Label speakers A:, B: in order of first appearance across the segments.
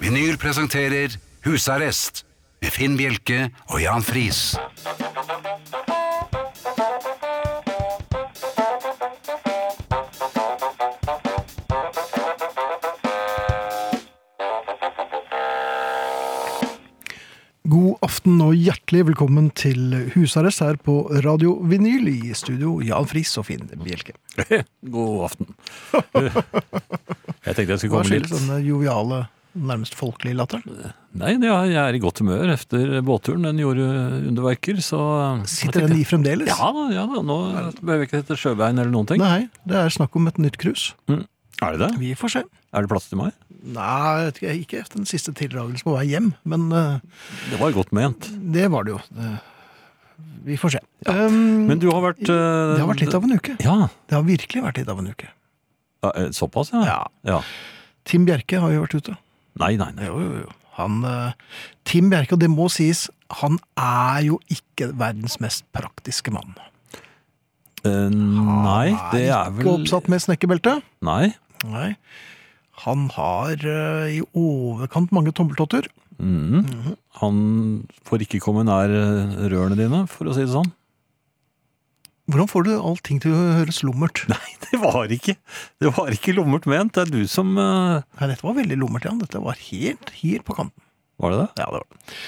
A: Vinyl presenterer Husarrest med Finn Bjelke og Jan Friis.
B: God aften og hjertelig velkommen til husarrest her på Radio Vinyl. I studio Jan Friis og Finn Bjelke.
C: God aften. Jeg tenkte jeg skulle
B: Hva sånn?
C: komme
B: skyldes
C: litt
B: denne joviale, nærmest folkelige latteren?
C: Nei, det er- jeg er i godt humør etter båtturen. Den gjorde underverker, så
B: Sitter den i fremdeles?
C: Ja da, ja da. Nå behøver vi ikke hete Sjøbein eller noen ting.
B: Nei, det er snakk om et nytt cruise.
C: Er det det?
B: Vi får se.
C: Er det plass til meg?
B: Nei, jeg vet ikke, ikke efter den siste tildragelsen på vei hjem, men eh,
C: Det var godt ment.
B: det var det jo. Eh, vi får se. Um,
C: Men du har vært eh,
B: det har vært litt av en uke.
C: Ja.
B: Det har virkelig vært litt av en uke.
C: Ja, eh, Såpass, ja.
B: Ja. Tim Bjerke har jo vært ute.
C: Nei, nei, nei.
B: Jo, jo, jo. Han, eh, Tim Bjerke, og det må sies, han er jo ikke verdens mest praktiske mann.
C: Eh, Nei, det er
B: Ikke
C: vel
B: oppsatt med snekkerbelte.
C: Nei.
B: Nei. Han har eh, i overkant mange tommeltotter.
C: Mhm. Han får ikke komme nær eh, rørene dine, for å si det sånn.
B: Hvordan får du allting til å høres lummert?
C: Nei, det var ikke Det var ikke lummert ment. Det er du som eh,
B: Nei, dette var veldig lummert, Jan. Dette var helt, helt på kanten.
C: Var det det?
B: Ja, det var det.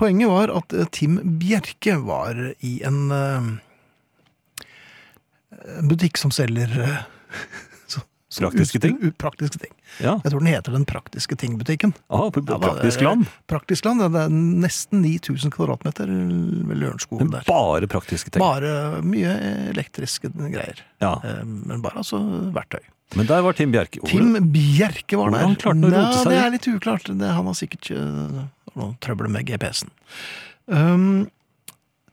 B: Poenget var at eh, Tim Bjerke var i en eh, en butikk som selger eh, så- så
C: Praktiske
B: utstyr-
C: ting?
B: u- Praktiske ting.
C: Ja.
B: Jeg tror den heter Den praktiske ting-butikken.
C: Ah, på
B: Ja, da,
C: praktisk
B: eh,
C: land.
B: Praktisk land, ja, Det er nesten 9000 kvadratmeter ved Lørenskogen
C: Men
B: der.
C: bare praktiske ting.
B: Bare mye elektriske greier.
C: Ja.
B: Eh, Men bare altså verktøy.
C: Men der var Tim Bjerke.
B: Tim Bjerke var der.
C: Hvordan klarte han å
B: Nei,
C: rote seg
B: Det
C: inn?
B: er litt uklart. Det, han har sikkert eh, noen trøbbel med GPS-en. Um,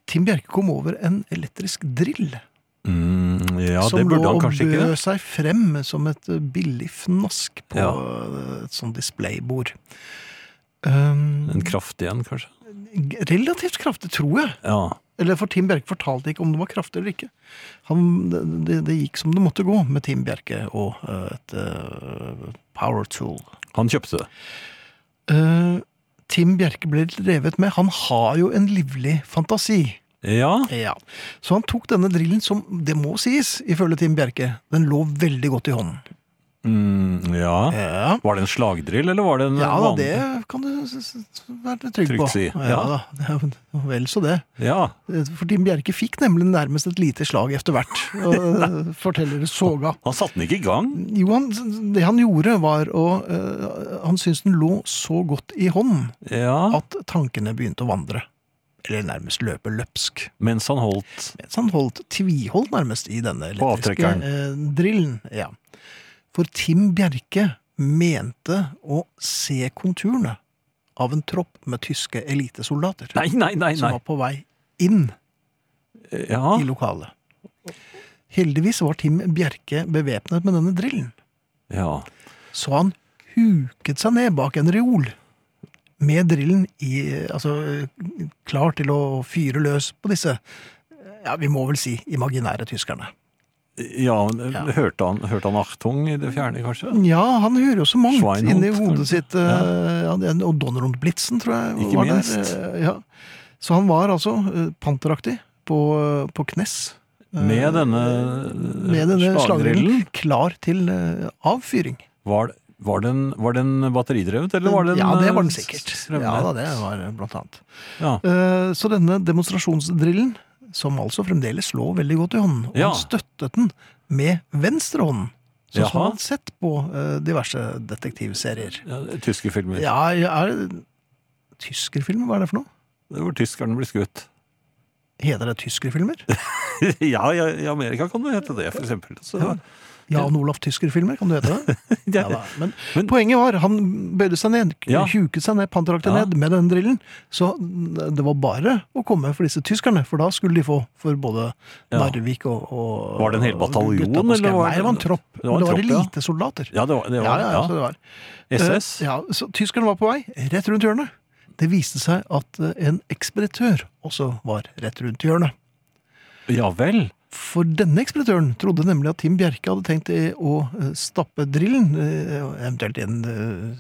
B: Tim Bjerke kom over en elektrisk drill
C: Mm, ja, det
B: som lå
C: burde han
B: og
C: kanskje ikke.
B: bød seg frem som et eh, billig fnask på
C: Ja.
B: eh, et sånt displaybord. Um,
C: En kraftig en, kanskje.
B: relativt kraftig, tror jeg.
C: Ja.
B: Eller for Tim Bjerke fortalte ikke om det var kraftig eller ikke. Han, det, det gikk som det måtte gå med Tim Bjerke og eh, et eh, power tool.
C: Han kjøpte det.
B: Eh, Tim Bjerke ble litt revet med. Han har jo en livlig fantasi.
C: Ja.
B: Så han tok denne drillen som, det må sies, ifølge Tim Bjerke, den lå veldig godt i hånden.
C: Mm, ja.
B: Ja,
C: Var det en slagdrill, eller var det en
B: da,
C: vanlig
B: det kan du s- s- være trygg
C: Trygt
B: på.
C: si,
B: Ja,
C: ja.
B: da, det er vel så det.
C: Ja.
B: For Tim Bjerke fikk nemlig nærmest et lite slag etter hvert, og eh, forteller det såga.
C: Han satte den ikke i gang.
B: Jo, han, det han gjorde var å eh, Han syntes den lå så godt i hånden
C: Ja.
B: at tankene begynte å vandre. Eller nærmest løpe løpsk.
C: Mens han holdt
B: Mens han holdt tviholdt sånn nærmest i denne
C: På
B: elektriske
C: avtrekkeren.
B: eh, drillen. Ja. For Tim Bjerke mente å se konturene av en tropp med tyske elitesoldater
C: Nei, nei, nei.
B: som
C: nei.
B: var på vei inn
C: Ja.
B: i lokalet. Heldigvis var Tim Bjerke bevæpnet med denne drillen.
C: ja.
B: Så han huket seg ned bak en reol med drillen i, altså, klar til å fyre løs på disse, ja, vi må vel si, imaginære tyskerne.
C: Ja, men, eh,
B: Ja.
C: Hørte, han, hørte han Achtung i det fjerne, kanskje?
B: Ja, han hører jo så mangt
C: Schweinhund,
B: inni hodet
C: kanskje.
B: sitt. eh, ja, det er- og Donnerund Blitzen, tror jeg.
C: Ikke
B: var der,
C: minst.
B: eh, ja. Så han var altså eh, panteraktig på, eh, på knes. eh,
C: Med denne, Eh,
B: med denne
C: slagdrillen?
B: slagdrillen klar til eh, avfyring.
C: Var, var, den, var den batteridrevet, eller var den
B: ja, det var den
C: eh,
B: sikkert.
C: strømnet?
B: Ja, da, det var eh, blant annet.
C: Ja.
B: Eh, Så denne demonstrasjonsdrillen, som altså fremdeles lå veldig godt i hånden, og
C: Ja.
B: han støttet den med venstre hånd, sånn som
C: Jaha.
B: han hadde sett på eh, diverse detektivserier.
C: Ja, tyske filmer.
B: Ja, er det Tyskerfilmer, hva er det for noe?
C: Det var tyskerne ble skutt.
B: Heter det tyskerfilmer?
C: ja, ja, i Amerika kan det hete det, for eksempel. Så,
B: Ja. Jan Olaf Tyskerfilmer, kan du hete det?
C: ja,
B: Ja, da. Men,
C: Men-
B: poenget var, han bøyde seg ned,
C: Ja.
B: huket seg ned, pantraktet
C: Ja.
B: ned med den drillen. Så det var bare å komme for disse tyskerne, for da skulle de få for både
C: Ja.
B: Narvik og, og
C: Var det en hel bataljon,
B: gutta på
C: eller
B: Skau.
C: var det-
B: Nei, det var en tropp.
C: Det var en
B: det var
C: tropp, ja.
B: elitesoldater.
C: ja, det var, det var,
B: ja, så
C: ja,
B: det var.
C: SS.
B: Eh, Ja, så tyskerne var på vei, rett rundt hjørnet. Det viste seg at eh, en ekspeditør også var rett rundt hjørnet.
C: Ja vel.
B: For denne ekspeditøren trodde nemlig at Tim Bjerke hadde tenkt i å eh, stappe drillen, eh, eventuelt i en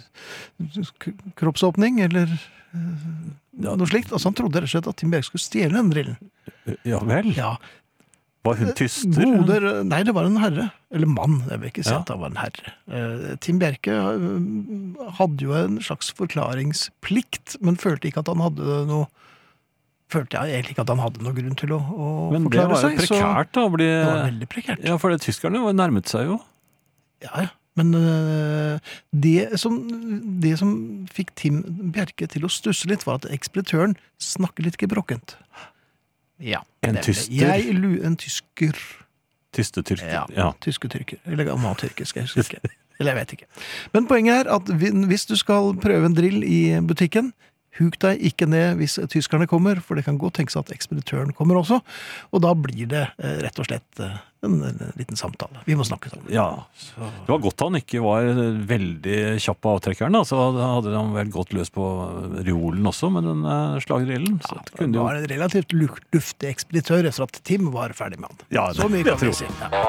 B: eh, k- kroppsåpning eller eh,
C: Ja.
B: noe slikt. Altså Han trodde rett og slett at Tim Bjerke skulle stjele den drillen.
C: Ja vel?
B: Ja,
C: Var hun tyster?
B: Gode, nei, det var en herre. Eller mann. Jeg vil ikke si
C: Ja.
B: at han var en herre. Eh, Tim Bjerke eh, hadde jo en slags forklaringsplikt, men følte ikke at han hadde noe Følte jeg egentlig ikke at han hadde noe grunn til å, å
C: Men det
B: forklare
C: var jo
B: seg.
C: prekært eh. da, å bli
B: Så det var veldig prekært.
C: Ja, for det, tyskerne var- nærmet seg jo.
B: Ja, ja. Men øh, det som, det som fikk Tim Bjerke til å stusse litt, var at ekspeditøren snakker litt gebrokkent. Ja.
C: En
B: nemlig.
C: tyster.
B: Jeg, lu- en tysker.
C: Tystetyrker.
B: Ja.
C: Ja.
B: Tyske tyrker. Eller gammel tyrker, skal jeg huske. Eller jeg vet ikke. Men poenget er at vi- hvis du skal prøve en drill i butikken, huk deg ikke ned hvis tyskerne kommer, for det kan godt tenkes at ekspeditøren kommer også. Og da blir det eh, rett og slett eh, en, en liten samtale. Vi må snakke sammen.
C: Ja. Det var godt han ikke var veldig kjapp på avtrekkeren, da. Så hadde han vel gått løs på reolen også med den eh, slagdrillen. Så det kunne
B: Det
C: jo
B: var en relativt luk- luftig ekspeditør etter at Tim var ferdig med han.
C: Ja, det-
B: Så mye
C: det
B: kan vi
C: tror
B: si.
C: jeg.
B: Ja.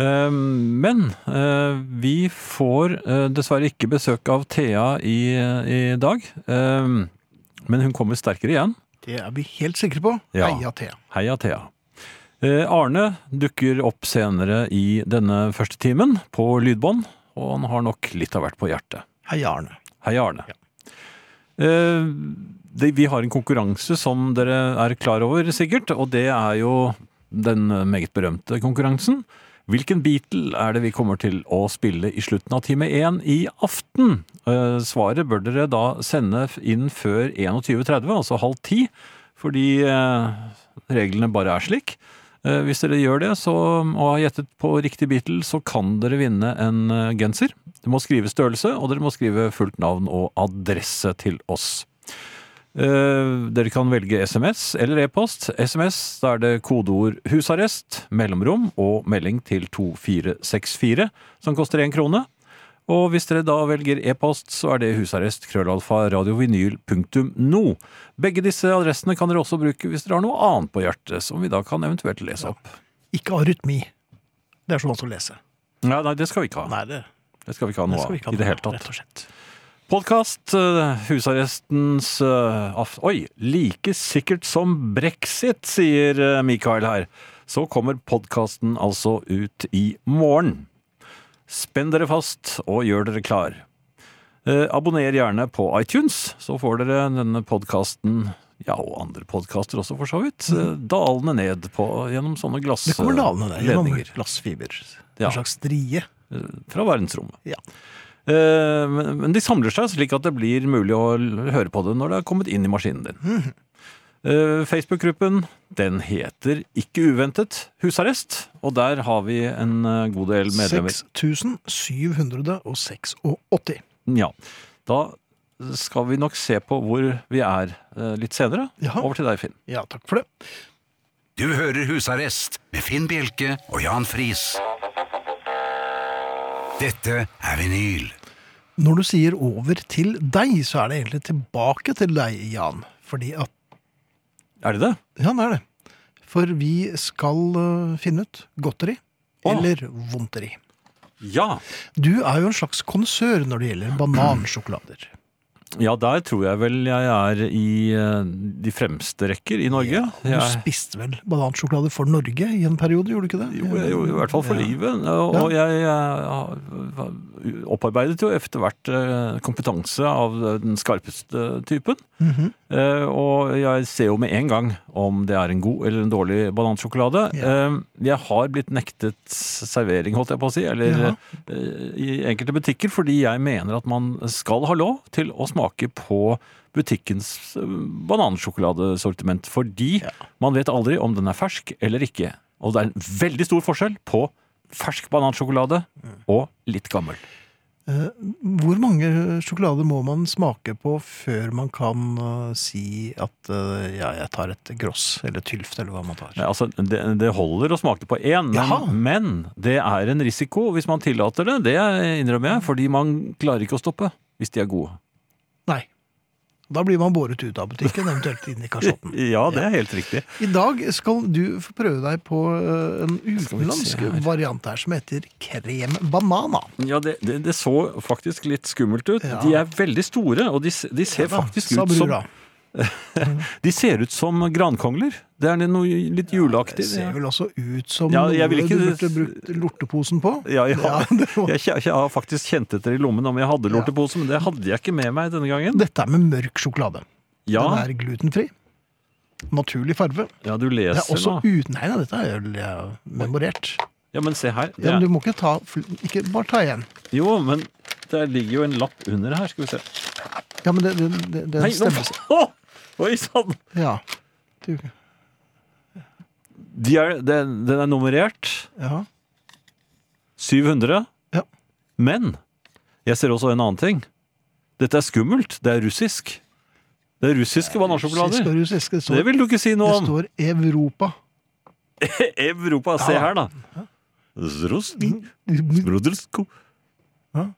C: Eh, Men eh, vi får eh, dessverre ikke besøk av Thea i, i dag. Eh, Men hun kommer sterkere igjen.
B: Det er vi helt sikre på.
C: Ja.
B: Heia Thea.
C: Heia Thea. Eh, Arne dukker opp senere i denne første timen på lydbånd, og han har nok litt av hvert på hjertet.
B: Heia Arne.
C: Hei, Arne. Eh, det, vi har en konkurranse som dere er klar over, sikkert. Og det er jo den meget berømte konkurransen. Hvilken Beatle er det vi kommer til å spille i slutten av time én i aften? Eh, svaret bør dere da sende f- inn før 21.30, altså halv ti. Fordi eh, reglene bare er slik. Eh, hvis dere gjør det så, og har gjettet på riktig Beatle, så kan dere vinne en eh, genser. Du må skrive størrelse, og dere må skrive fullt navn og adresse til oss. Eh, dere kan velge SMS eller e-post. SMS, da er det kodeord 'husarrest', mellomrom og melding til 2464, som koster én krone. Og hvis dere da velger e-post, så er det husarrest krøllalfa radiovinyl.no. Begge disse adressene kan dere også bruke hvis dere har noe annet på hjertet, som vi da kan eventuelt lese opp.
B: Ikke arytmi. Det er så vanskelig å lese.
C: Nei, nei, det skal vi ikke ha.
B: Nei, det,
C: Det skal vi ikke ha
B: det
C: noe
B: skal vi ikke ha
C: av i det
B: noe
C: hele
B: av,
C: tatt.
B: Rett og slett.
C: Podkast, eh, husarrestens eh, aft... Oi! Like sikkert som brexit, sier eh, Mikael her. Så kommer podkasten altså ut i morgen. Spenn dere fast og gjør dere klar. Eh, abonner gjerne på iTunes, så får dere denne podkasten, ja, og andre podkaster også, for så vidt, eh, dalende ned på, gjennom sånne
B: Mm. Det kommer dalende der gjennom
C: glassledninger
B: glassfiber.
C: Ja.
B: En slags strie.
C: fra verdensrommet.
B: Ja.
C: Eh, Men men de samler seg slik at det blir mulig å l- høre på det når det har kommet inn i maskinen din.
B: Mhm.
C: Eh, Facebook-gruppen den heter Ikke uventet husarrest, og der har vi en eh, god del medlemmer.
B: 6786.
C: Ja. Da skal vi nok se på hvor vi er eh, litt senere.
B: Ja.
C: Over til deg, Finn.
B: Ja, takk for det.
A: Du hører Husarrest med Finn Bjelke og Jan Friis. Dette er vinyl.
B: Når du sier over til deg, så er det egentlig tilbake til deg, Jan. Fordi at
C: Er det det?
B: Ja, det er det. For vi skal øh, finne ut godteri
C: Åh.
B: eller vondteri.
C: Ja.
B: Du er jo en slags konsør når det gjelder banansjokolader.
C: Ja, der tror jeg vel jeg er i eh, de fremste rekker i Norge.
B: Du
C: Jeg-
B: spiste vel banansjokolade for Norge i en periode, gjorde du ikke det?
C: Jo, jeg gjorde i hvert fall for
B: Ja.
C: livet. Og og jeg, eh, har- opparbeidet jo etter hvert eh, kompetanse av den skarpeste typen.
B: Mhm.
C: Eh, Og jeg ser jo med en gang om det er en god eller en dårlig banansjokolade. Eh, Jeg har blitt nektet servering, holdt jeg på å si, eller eh, i enkelte butikker, fordi jeg mener at man skal ha lov til å smake på butikkens eh, banansjokoladesortiment, fordi man vet aldri om den er fersk eller ikke. Og det er en veldig stor forskjell på fersk banansjokolade og litt gammel.
B: Hvor mange sjokolader må man smake på før man kan øh, si at øh, ja, jeg tar et gross eller tylft eller hva man tar?
C: Nei, altså, det, det holder å smake på én, men,
B: Jaha.
C: men det er en risiko hvis man tillater det. Det innrømmer jeg, fordi man klarer ikke å stoppe hvis de er gode.
B: Nei. Da blir man båret ut av butikken, eventuelt inn i kasjotten.
C: Ja, det er helt riktig.
B: I dag skal du få prøve deg på eh, en
C: Skal vi se
B: utenlandsk
C: her.
B: variant her som heter krem banana.
C: Ja, det, det, det så faktisk litt skummelt ut.
B: Ja.
C: De er veldig store, og de, s- de ser
B: Ja da,
C: faktisk
B: sa
C: ut som,
B: brura.
C: de ser ut som grankongler. Det er noe litt
B: Det
C: juleaktig.
B: ser
C: Ja,
B: vel også ut som
C: Ja, jeg vil
B: noe
C: ikke-
B: du burde brukt lorteposen på.
C: ja,
B: det var-
C: Jeg, kje- jeg har faktisk kjent etter i lommen om jeg hadde lortepose, men det hadde jeg ikke med meg denne gangen.
B: Dette er med mørk sjokolade.
C: Ja,
B: Den er glutenfri. Naturlig farve.
C: ja du
B: Det er
C: leser
B: også
C: nå.
B: uten Nei, nei, dette er jo jeg har memorert.
C: Ja, men se her. Det
B: Ja, men
C: er,
B: du må ikke ta fl- Ikke bare ta igjen.
C: jo, men der ligger jo en lapp under her, skal vi se.
B: Ja, men det, det, det, det
C: Nei, nå,
B: stemmer.
C: Å! Oi sånn. sann!
B: Ja. Du,
C: De er- Den den er nummerert.
B: ja.
C: 700.
B: Ja.
C: Men jeg ser også en annen ting. Dette er skummelt. Det er russisk. Det er russiske
B: Russisk
C: banansjokolader.
B: og russisk. Det
C: Det
B: står,
C: vil du ikke si
B: det
C: noe om.
B: står Europa.
C: Europa. Se
B: Ja.
C: her, da. Zrosny, Brodrsko.
B: Ja.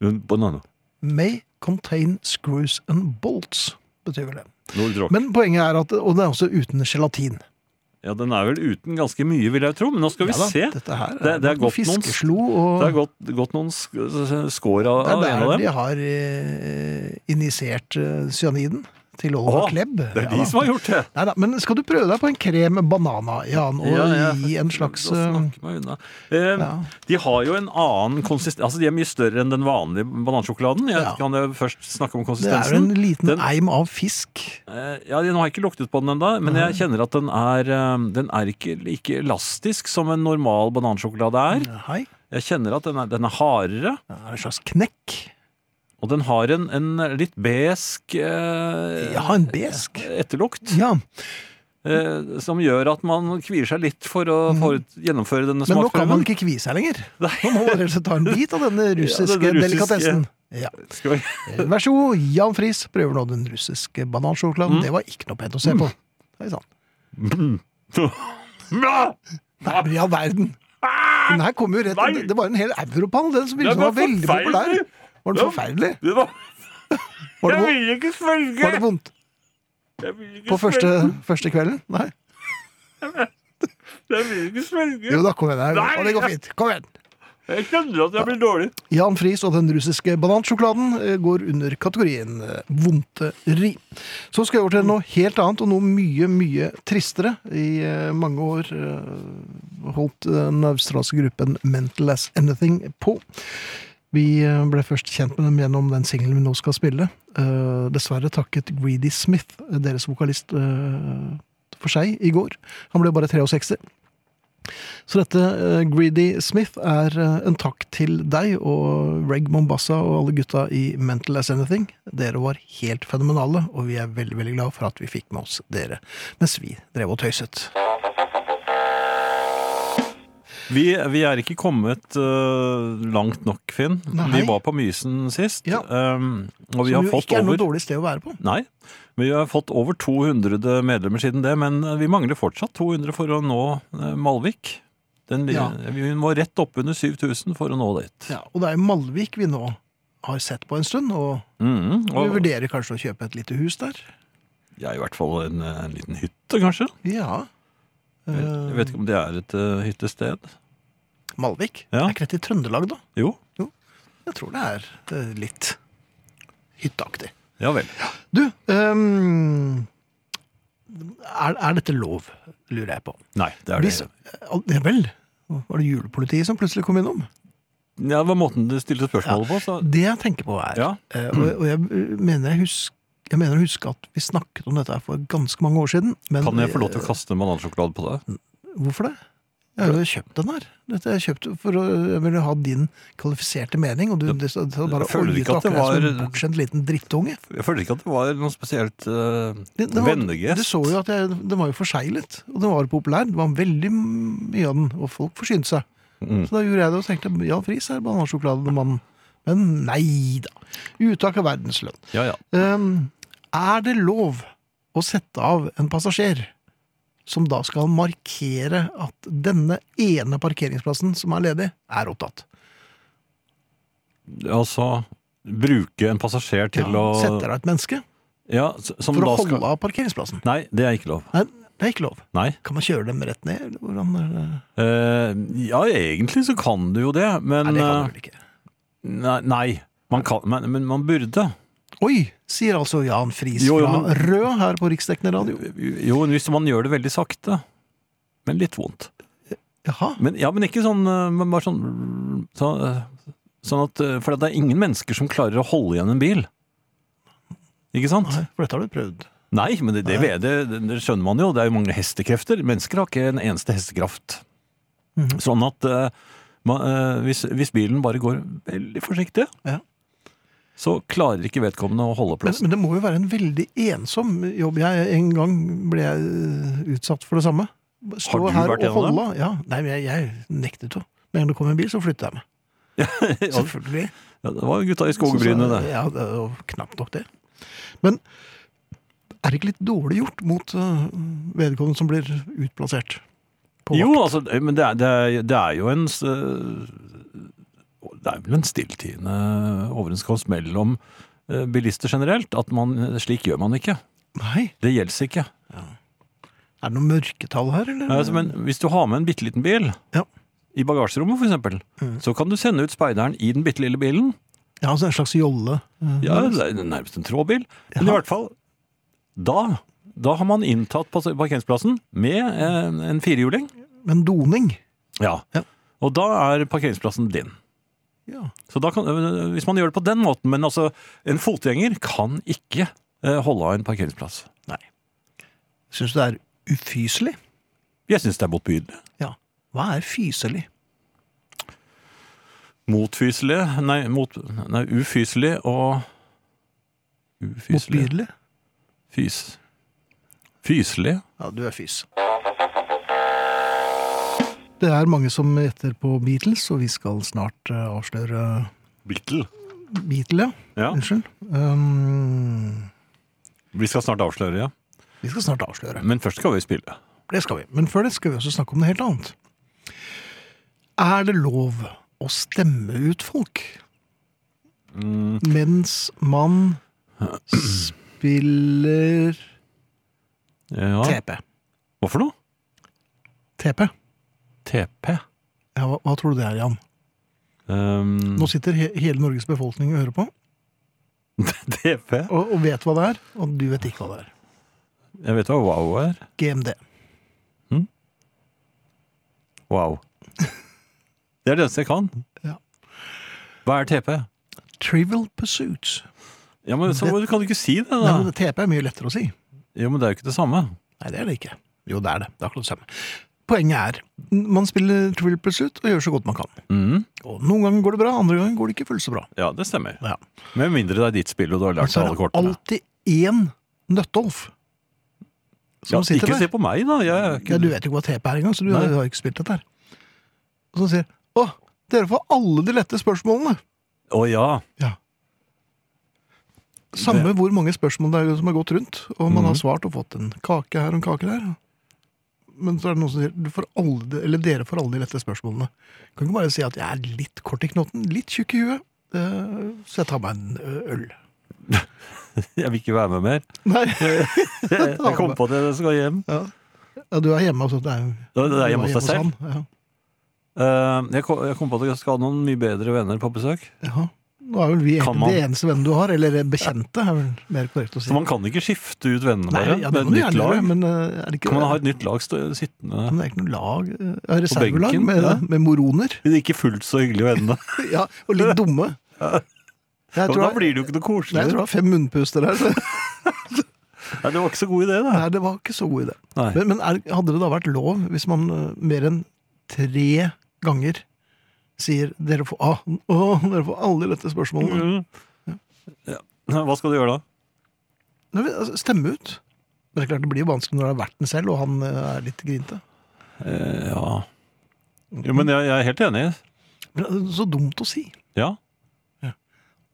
C: En Banan.
B: May contain screws and bolts, betyr vel det.
C: Nordrock.
B: Men poenget er at Og det er også uten gelatin.
C: Ja, den er vel uten ganske mye, vil jeg tro. Men nå skal vi
B: Ja da,
C: se.
B: Dette her
C: Det- det er godt noen-
B: fiskeslo og
C: Det er gått, gått noen sk- skår av
B: Det
C: av
B: er
C: en
B: der
C: av dem.
B: de har eh, injisert eh, cyaniden til Oliver
C: Å,
B: Klebb.
C: Det er
B: Ja
C: de
B: da.
C: som har gjort det.
B: Nei da, men skal du prøve deg på en krem banana, Jan, og
C: Ja, jeg-
B: gi en slags
C: Da
B: eh,
C: snakker meg unna. Eh,
B: ja.
C: De har jo en annen konsistens Altså, de er mye større enn den vanlige banansjokoladen. Jeg
B: Ja.
C: kan jo først snakke om
B: Det er jo en
C: konsistensen.
B: liten
C: Den-
B: eim av fisk.
C: Eh, Ja, Nå har jeg ikke luktet på den ennå, men jeg kjenner at den er, eh, den er ikke like elastisk som en normal banansjokolade er.
B: Hei.
C: Jeg kjenner at den er, den er hardere,
B: Det er en slags knekk.
C: og den har en, en litt besk eh,
B: Ja, en besk.
C: etterlukt.
B: Ja,
C: Eh, som gjør at man kvier seg litt for å for å gjennomføre denne
B: Mm. Men nå kan man
C: smaksprøven.
B: ikke kvie seg lenger.
C: Nei.
B: Man må bare ta en bit av denne russiske
C: russiske-
B: delikatessen. Ja. eh,
C: Skal vi-
B: Vær så god, Jan Friis prøver nå den russiske banansjokoladen.
C: Mm.
B: Det var ikke noe pent å se på. Hei sann.
C: Bra!
B: Nei, men i all verden. Den her kom jo rett
C: Ah! Nei.
B: det, det var en hel europall, den som ville
C: Den
B: som
C: var
B: var veldig populær.
C: forferdelig.
B: Var den
C: Den-
B: forferdelig?
C: Det var,
B: Var det,
C: jeg
B: vo-
C: ville ikke svelge!
B: var det vondt
C: Jeg vil ikke
B: på første,
C: svelge.
B: første kvelden? Nei?
C: Jeg vil ikke svelge.
B: Jo da, kom igjen. her.
C: Nei.
B: Og det går fint. Kom igjen.
C: Jeg kjenner at jeg blir dårlig.
B: Jan Friis og den russiske banansjokoladen eh, går under kategorien eh, vondteri. Så skal jeg over til noe helt annet, og noe mye, mye tristere. I eh, mange år eh, holdt eh, den australske gruppen Mental As Anything på. Vi eh, ble først kjent med dem gjennom den singelen vi nå skal spille. Eh, Dessverre takket Greedy Smith, deres vokalist, eh, for seg i går. Han ble bare 63. Så dette eh, Greedy Smith er eh, en takk til deg og Reg Mombassa og alle gutta i Mental As Anything. Dere var helt fenomenale, og vi er veldig veldig glad for at vi fikk med oss dere mens vi drev og tøyset.
C: Vi, vi er ikke kommet øh, langt nok, Finn.
B: Nei.
C: Vi var på Mysen sist.
B: Ja.
C: øhm, og vi har
B: Som jo
C: fått
B: ikke er noe
C: over
B: dårlig sted å være på.
C: Nei, vi har fått over 200 medlemmer siden det, men eh, vi mangler fortsatt 200 for å nå øh, Malvik. Den, li-
B: Ja.
C: Vi må rett opp under 7000 for å nå dit.
B: Ja, og det er jo Malvik vi nå har sett på en stund, og
C: Mhm,
B: vi
C: og
B: vurderer kanskje å kjøpe et lite hus der.
C: ja, I hvert fall en, eh, en liten hytte, kanskje.
B: Ja.
C: Jeg, jeg vet ikke om det er et øh, hyttested.
B: Malvik?
C: Ja.
B: Er ikke dette i Trøndelag, da?
C: Jo.
B: Jeg tror det er eh, litt hytteaktig.
C: Ja vel.
B: Du, ehm, er, er dette lov, lurer jeg på.
C: Nei, det er det.
B: Hvis- Al- Ja vel, var det julepolitiet som plutselig kom innom?
C: Ja, det var måten du stilte spørsmålet på. Så.
B: Det jeg tenker på er,
C: Ja.
B: eh, og, og jeg eh, mener jeg husker jeg mener å huske at vi snakket om dette her for ganske mange år siden. Men,
C: Kan jeg få lov til å kaste en banansjokolade på deg?
B: eh, Hvorfor det? Jeg har jo kjøpt den her. Dette har jeg kjøpt for å jeg ville ha din kvalifiserte mening, og du det, det, det bare
C: føler du
B: oljet
C: ikke at det
B: akkurat som en
C: var-
B: bortskjemt liten drittunge.
C: Jeg føler ikke at det var noe spesielt uh,
B: Det- det var-
C: vennegest.
B: Du så jo at jeg, den var jo forseglet, og den var populær. Det var veldig mye av den, og folk forsynte seg.
C: Mm.
B: Så da gjorde jeg det og tenkte Jan Friis er banansjokolademannen. Men nei da. Uttak av verdenslønn.
C: Ja, ja.
B: Um, er det lov å sette av en passasjer som da skal markere at denne ene parkeringsplassen som er ledig, er opptatt?
C: Altså bruke en passasjer til
B: Ja,
C: å
B: Setter av et menneske?
C: Ja, s- som
B: For å
C: da skal-
B: holde av parkeringsplassen.
C: Nei, det er ikke lov.
B: Nei, det er ikke lov.
C: Nei.
B: Kan man kjøre dem rett ned? eller Hvordan er det?
C: Eh, ja, egentlig så kan du jo det, men
B: Nei,
C: eh,
B: det kan man vel ikke.
C: Nei, nei. Man kan, men, men man burde.
B: Oi, sier altså Jan Friis
C: Jo, jo, men-
B: fra Rød her på Riksdekkende radio.
C: Jo, hvis man gjør det veldig sakte. Men litt vondt.
B: Jaha.
C: Men, ja, men ikke sånn eh, men bare sånn, sånn, eh, sånn at, eh, For det er ingen mennesker som klarer å holde igjen en bil. Ikke sant?
B: Nei, for dette har du prøvd.
C: Nei, men det, det,
B: Nei.
C: det, det skjønner man jo. Det er jo mange hestekrefter. Mennesker har ikke en eneste hestekraft.
B: Mhm.
C: Sånn at eh, man, eh, hvis, hvis bilen bare går veldig forsiktig,
B: Ja.
C: så klarer ikke vedkommende å holde
B: Men,
C: plassen.
B: men det må jo være en veldig ensom jobb. Jeg, en gang ble jeg eh, utsatt for det samme. Stå
C: Har du
B: her og
C: vært en av dem?
B: holde. Ja. Nei, men jeg, jeg nektet jo. Med en gang det kom en bil, så flyttet jeg meg.
C: Ja,
B: Selvfølgelig.
C: Ja, det var jo gutta i skogbrynet,
B: Så-
C: det.
B: Ja, det var knapt nok det. Men er det ikke litt dårlig gjort mot eh, vedkommende som blir utplassert? På
C: Jo,
B: vakt?
C: altså, men det er, det er, det er jo en s- Det er vel en stilltiende overenskomst mellom eh, bilister generelt at man, slik gjør man ikke.
B: Nei.
C: Det gjelder ikke.
B: Er det noe mørketall her, eller?
C: Ja, altså, Men hvis du har med en bitte liten bil
B: Ja.
C: i bagasjerommet, for eksempel,
B: Mm.
C: så kan du sende ut speideren i den bitte lille bilen.
B: Ja, altså en slags jolle. eh,
C: Ja, det er nærmest en trådbil. Men
B: Ja.
C: i hvert fall, da, da har man inntatt pas- parkeringsplassen med en, en firehjuling.
B: Men doning.
C: Ja.
B: Ja.
C: Og da er parkeringsplassen din.
B: Ja.
C: Så da kan, øh, hvis man gjør det på den måten, men altså, en fotgjenger kan ikke øh, holde av en parkeringsplass.
B: Syns du det er ufyselig?
C: Jeg syns det er motbydelig.
B: Ja. Hva er fyselig?
C: Motfyselig, nei, mot, nei ufyselig og Ufyselig.
B: Motbydelig?
C: Fys. Fyselig.
B: Ja, du er fys. Det er mange som gjetter på Beatles, og vi skal snart eh, avsløre
C: Beatle.
B: Beatle, ja.
C: Ja,
B: Unnskyld. Um,
C: vi skal snart avsløre, ja.
B: vi skal snart avsløre.
C: Men først skal vi spille.
B: Det skal vi. Men før det skal vi også snakke om noe helt annet. Er det lov å stemme ut folk
C: Mm,
B: mens man spiller
C: Ja.
B: TP?
C: Hva for noe?
B: TP?
C: TP.
B: Ja, hva, hva tror du det er, Jan?
C: Um,
B: Nå sitter he hele Norges befolkning og hører på,
C: TP?
B: og, og vet hva det er, og du vet ikke hva det er.
C: Jeg vet hva wow er.
B: GMD.
C: Wow. Det er det eneste jeg kan.
B: Ja.
C: Hva er TP?
B: Trivial Pursuits.
C: Ja, men så
B: Det-
C: kan du ikke si det,
B: Nei,
C: da.
B: men TP er mye lettere å si.
C: Jo, men det er jo ikke det samme.
B: Nei, det er det ikke. Jo, det er det. Det er akkurat det samme. Poenget er, n- man spiller Trivial Pursuit og gjør så godt man kan.
C: Mm.
B: Og noen ganger går det bra, andre ganger går det ikke fullt så bra.
C: Ja, det stemmer.
B: Ja.
C: Med mindre det er ditt spill og du har
B: Men
C: lært
B: så er
C: deg alle
B: det
C: kortene.
B: alltid én Nøttolf som
C: Ja,
B: sitter
C: ikke se
B: der.
C: på meg, da. Jeg er ikke...
B: Ja, du vet jo ikke hva TP er engang, så du
C: Nei.
B: har jo ikke spilt dette her. Og så sier Å, dere får alle de lette spørsmålene!
C: Å ja.
B: Samme
C: Det-
B: hvor mange spørsmål det er som har gått rundt, og man har
C: Mhm.
B: svart og fått en kake her og en kake der. Men så er det noen som sier du får alle, de- eller dere får alle de lette spørsmålene. Kan ikke bare si at jeg er litt kort i knotten, litt tjukk i huet, eh, så jeg tar meg en ø, øl.
C: Jeg vil ikke være med mer.
B: Nei,
C: Jeg jeg kom på det, jeg skal hjem.
B: ja, du er hjemme, altså. Det er, jo-
C: Det er
B: du er
C: hjemme hos deg selv.
B: han, Ja.
C: Eh, Jeg kom, jeg kom på at jeg skal ha noen mye bedre venner på besøk.
B: Jaha. Nå er vel vi
C: Kan man-
B: det eneste vennen du har, eller bekjente, er vel mer korrekt å si.
C: Så man kan ikke skifte ut vennene bare
B: ja,
C: med
B: det
C: et
B: må du
C: nytt
B: gjerne gjøre,
C: lag.
B: men Mm. eh, er det ikke
C: Kan man ha et nytt lag stå- sittende
B: men det er ikke noe lag, eh, reservelag
C: benken,
B: med,
C: ja.
B: med moroner.
C: De er ikke fullt så hyggelige vennene.
B: Ja, og litt dumme. Jeg
C: Og
B: tror
C: da
B: det-
C: blir det jo ikke noe
B: Nei, jeg tror
C: koselig.
B: det var fem munnpuster der. Så.
C: Nei, det var ikke så god idé, da.
B: Nei, det var ikke så god idé.
C: Nei.
B: Men, men er, hadde det da vært lov hvis man øh, mer enn tre ganger sier dere får, ah, åh, dere får alle de lette spørsmålene?
C: Mm. Ja. Hva skal du gjøre da?
B: Nei, men, altså, Stemme ut. Men det er klart det blir jo vanskelig når det er verten selv, og han øh, er litt grinte.
C: Eh, ja Jo, men jeg, jeg er helt enig.
B: Men det er så dumt å si.
C: Ja.